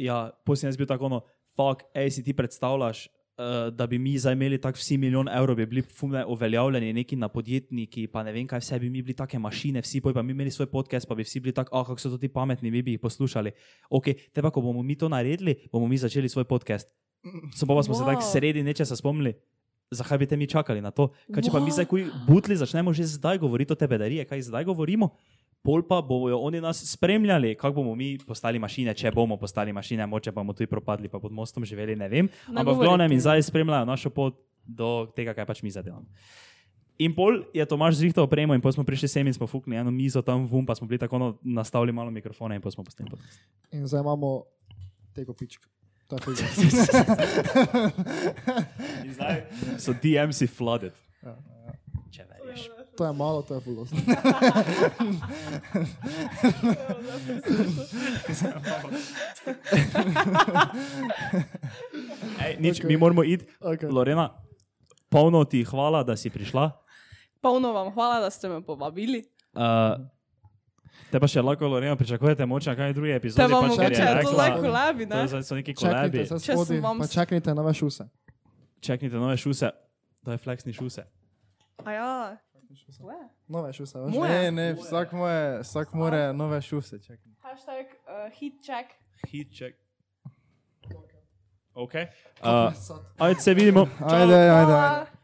Speaker 3: Ja, potem sem jaz bil tako, no, fuck, ej, si ti predstavljaš, uh, da bi mi zdaj imeli tako vsi milijon evrov, bi bili fumne uveljavljeni, neki na podjetniki, pa ne vem kaj vse, bi mi bili take mašine, vsi poj, pa mi imeli svoj podcast, pa bi vsi bili tako, ah, kako so to ti pametni, mi bi jih poslušali. Ok, te pa, ko bomo mi to naredili, bomo mi začeli svoj podcast. Samo pa smo wow. se tako
Speaker 1: Wow.
Speaker 3: sredi nečesa spomnili. Zakaj bi te mi čakali na to? Kaj, če pa mi
Speaker 1: Wow.
Speaker 3: zdaj, ko butli, začnemo že zdaj govoriti o te bedarije, kaj zdaj govorimo, pol pa bojo oni nas spremljali, kako bomo mi postali mašine, če bomo postali mašine, moče pa bomo tudi propadli, pa pod mostom živeli, ne vem.
Speaker 1: Ne
Speaker 3: Ampak
Speaker 1: govorite.
Speaker 3: v glavnem in zdaj spremljajo našo pot do tega, kaj pač mi zadevamo. In pol je Tomaš zrihtal opremo, in pol smo prišli sem in smo fuknili eno mizo tam vum, pa smo bili tako no, nastavili malo mikrofone in pol smo postali podcast.
Speaker 2: In zdaj imamo tega pička. To je figo.
Speaker 3: In zdaj Ja, so DMC flooded. Če verjameš.
Speaker 2: To je malo, to je full. dosti.
Speaker 3: Ej, nič, okay.
Speaker 2: Okej.
Speaker 3: mi moramo iti.
Speaker 2: Okej.
Speaker 3: Lorena, polno ti hvala, da si prišla.
Speaker 1: Polno vam hvala, da ste me povabili.
Speaker 3: Uh, te pa še lahko, Lorena, pričakujete moč na kaj druge
Speaker 1: Te
Speaker 3: epizode.
Speaker 1: vam
Speaker 3: pač, ker je
Speaker 1: mogoče je to
Speaker 3: rekla-
Speaker 1: zdaj kolabi,
Speaker 3: to
Speaker 1: ne?
Speaker 3: je zdaj so neki
Speaker 2: Čaknite,
Speaker 3: kolabi.
Speaker 2: se
Speaker 1: Če sem
Speaker 2: shodi,
Speaker 1: vam
Speaker 2: pa
Speaker 1: s-
Speaker 2: čaknite nove šuse.
Speaker 3: Čaknite nove šuse. To je fleksni šuse.
Speaker 1: A ja.
Speaker 2: Nove šuse, veš.
Speaker 1: Moje.
Speaker 4: Ne, ne, vsak, moje, vsak more nove šuse, čakaj.
Speaker 1: Hashtag uh, hit check.
Speaker 3: Hitček. Ok. Uh,
Speaker 2: Kako je sad?
Speaker 3: ajde se vidimo.
Speaker 4: Ajde, ajde, ajde.
Speaker 1: Hvala.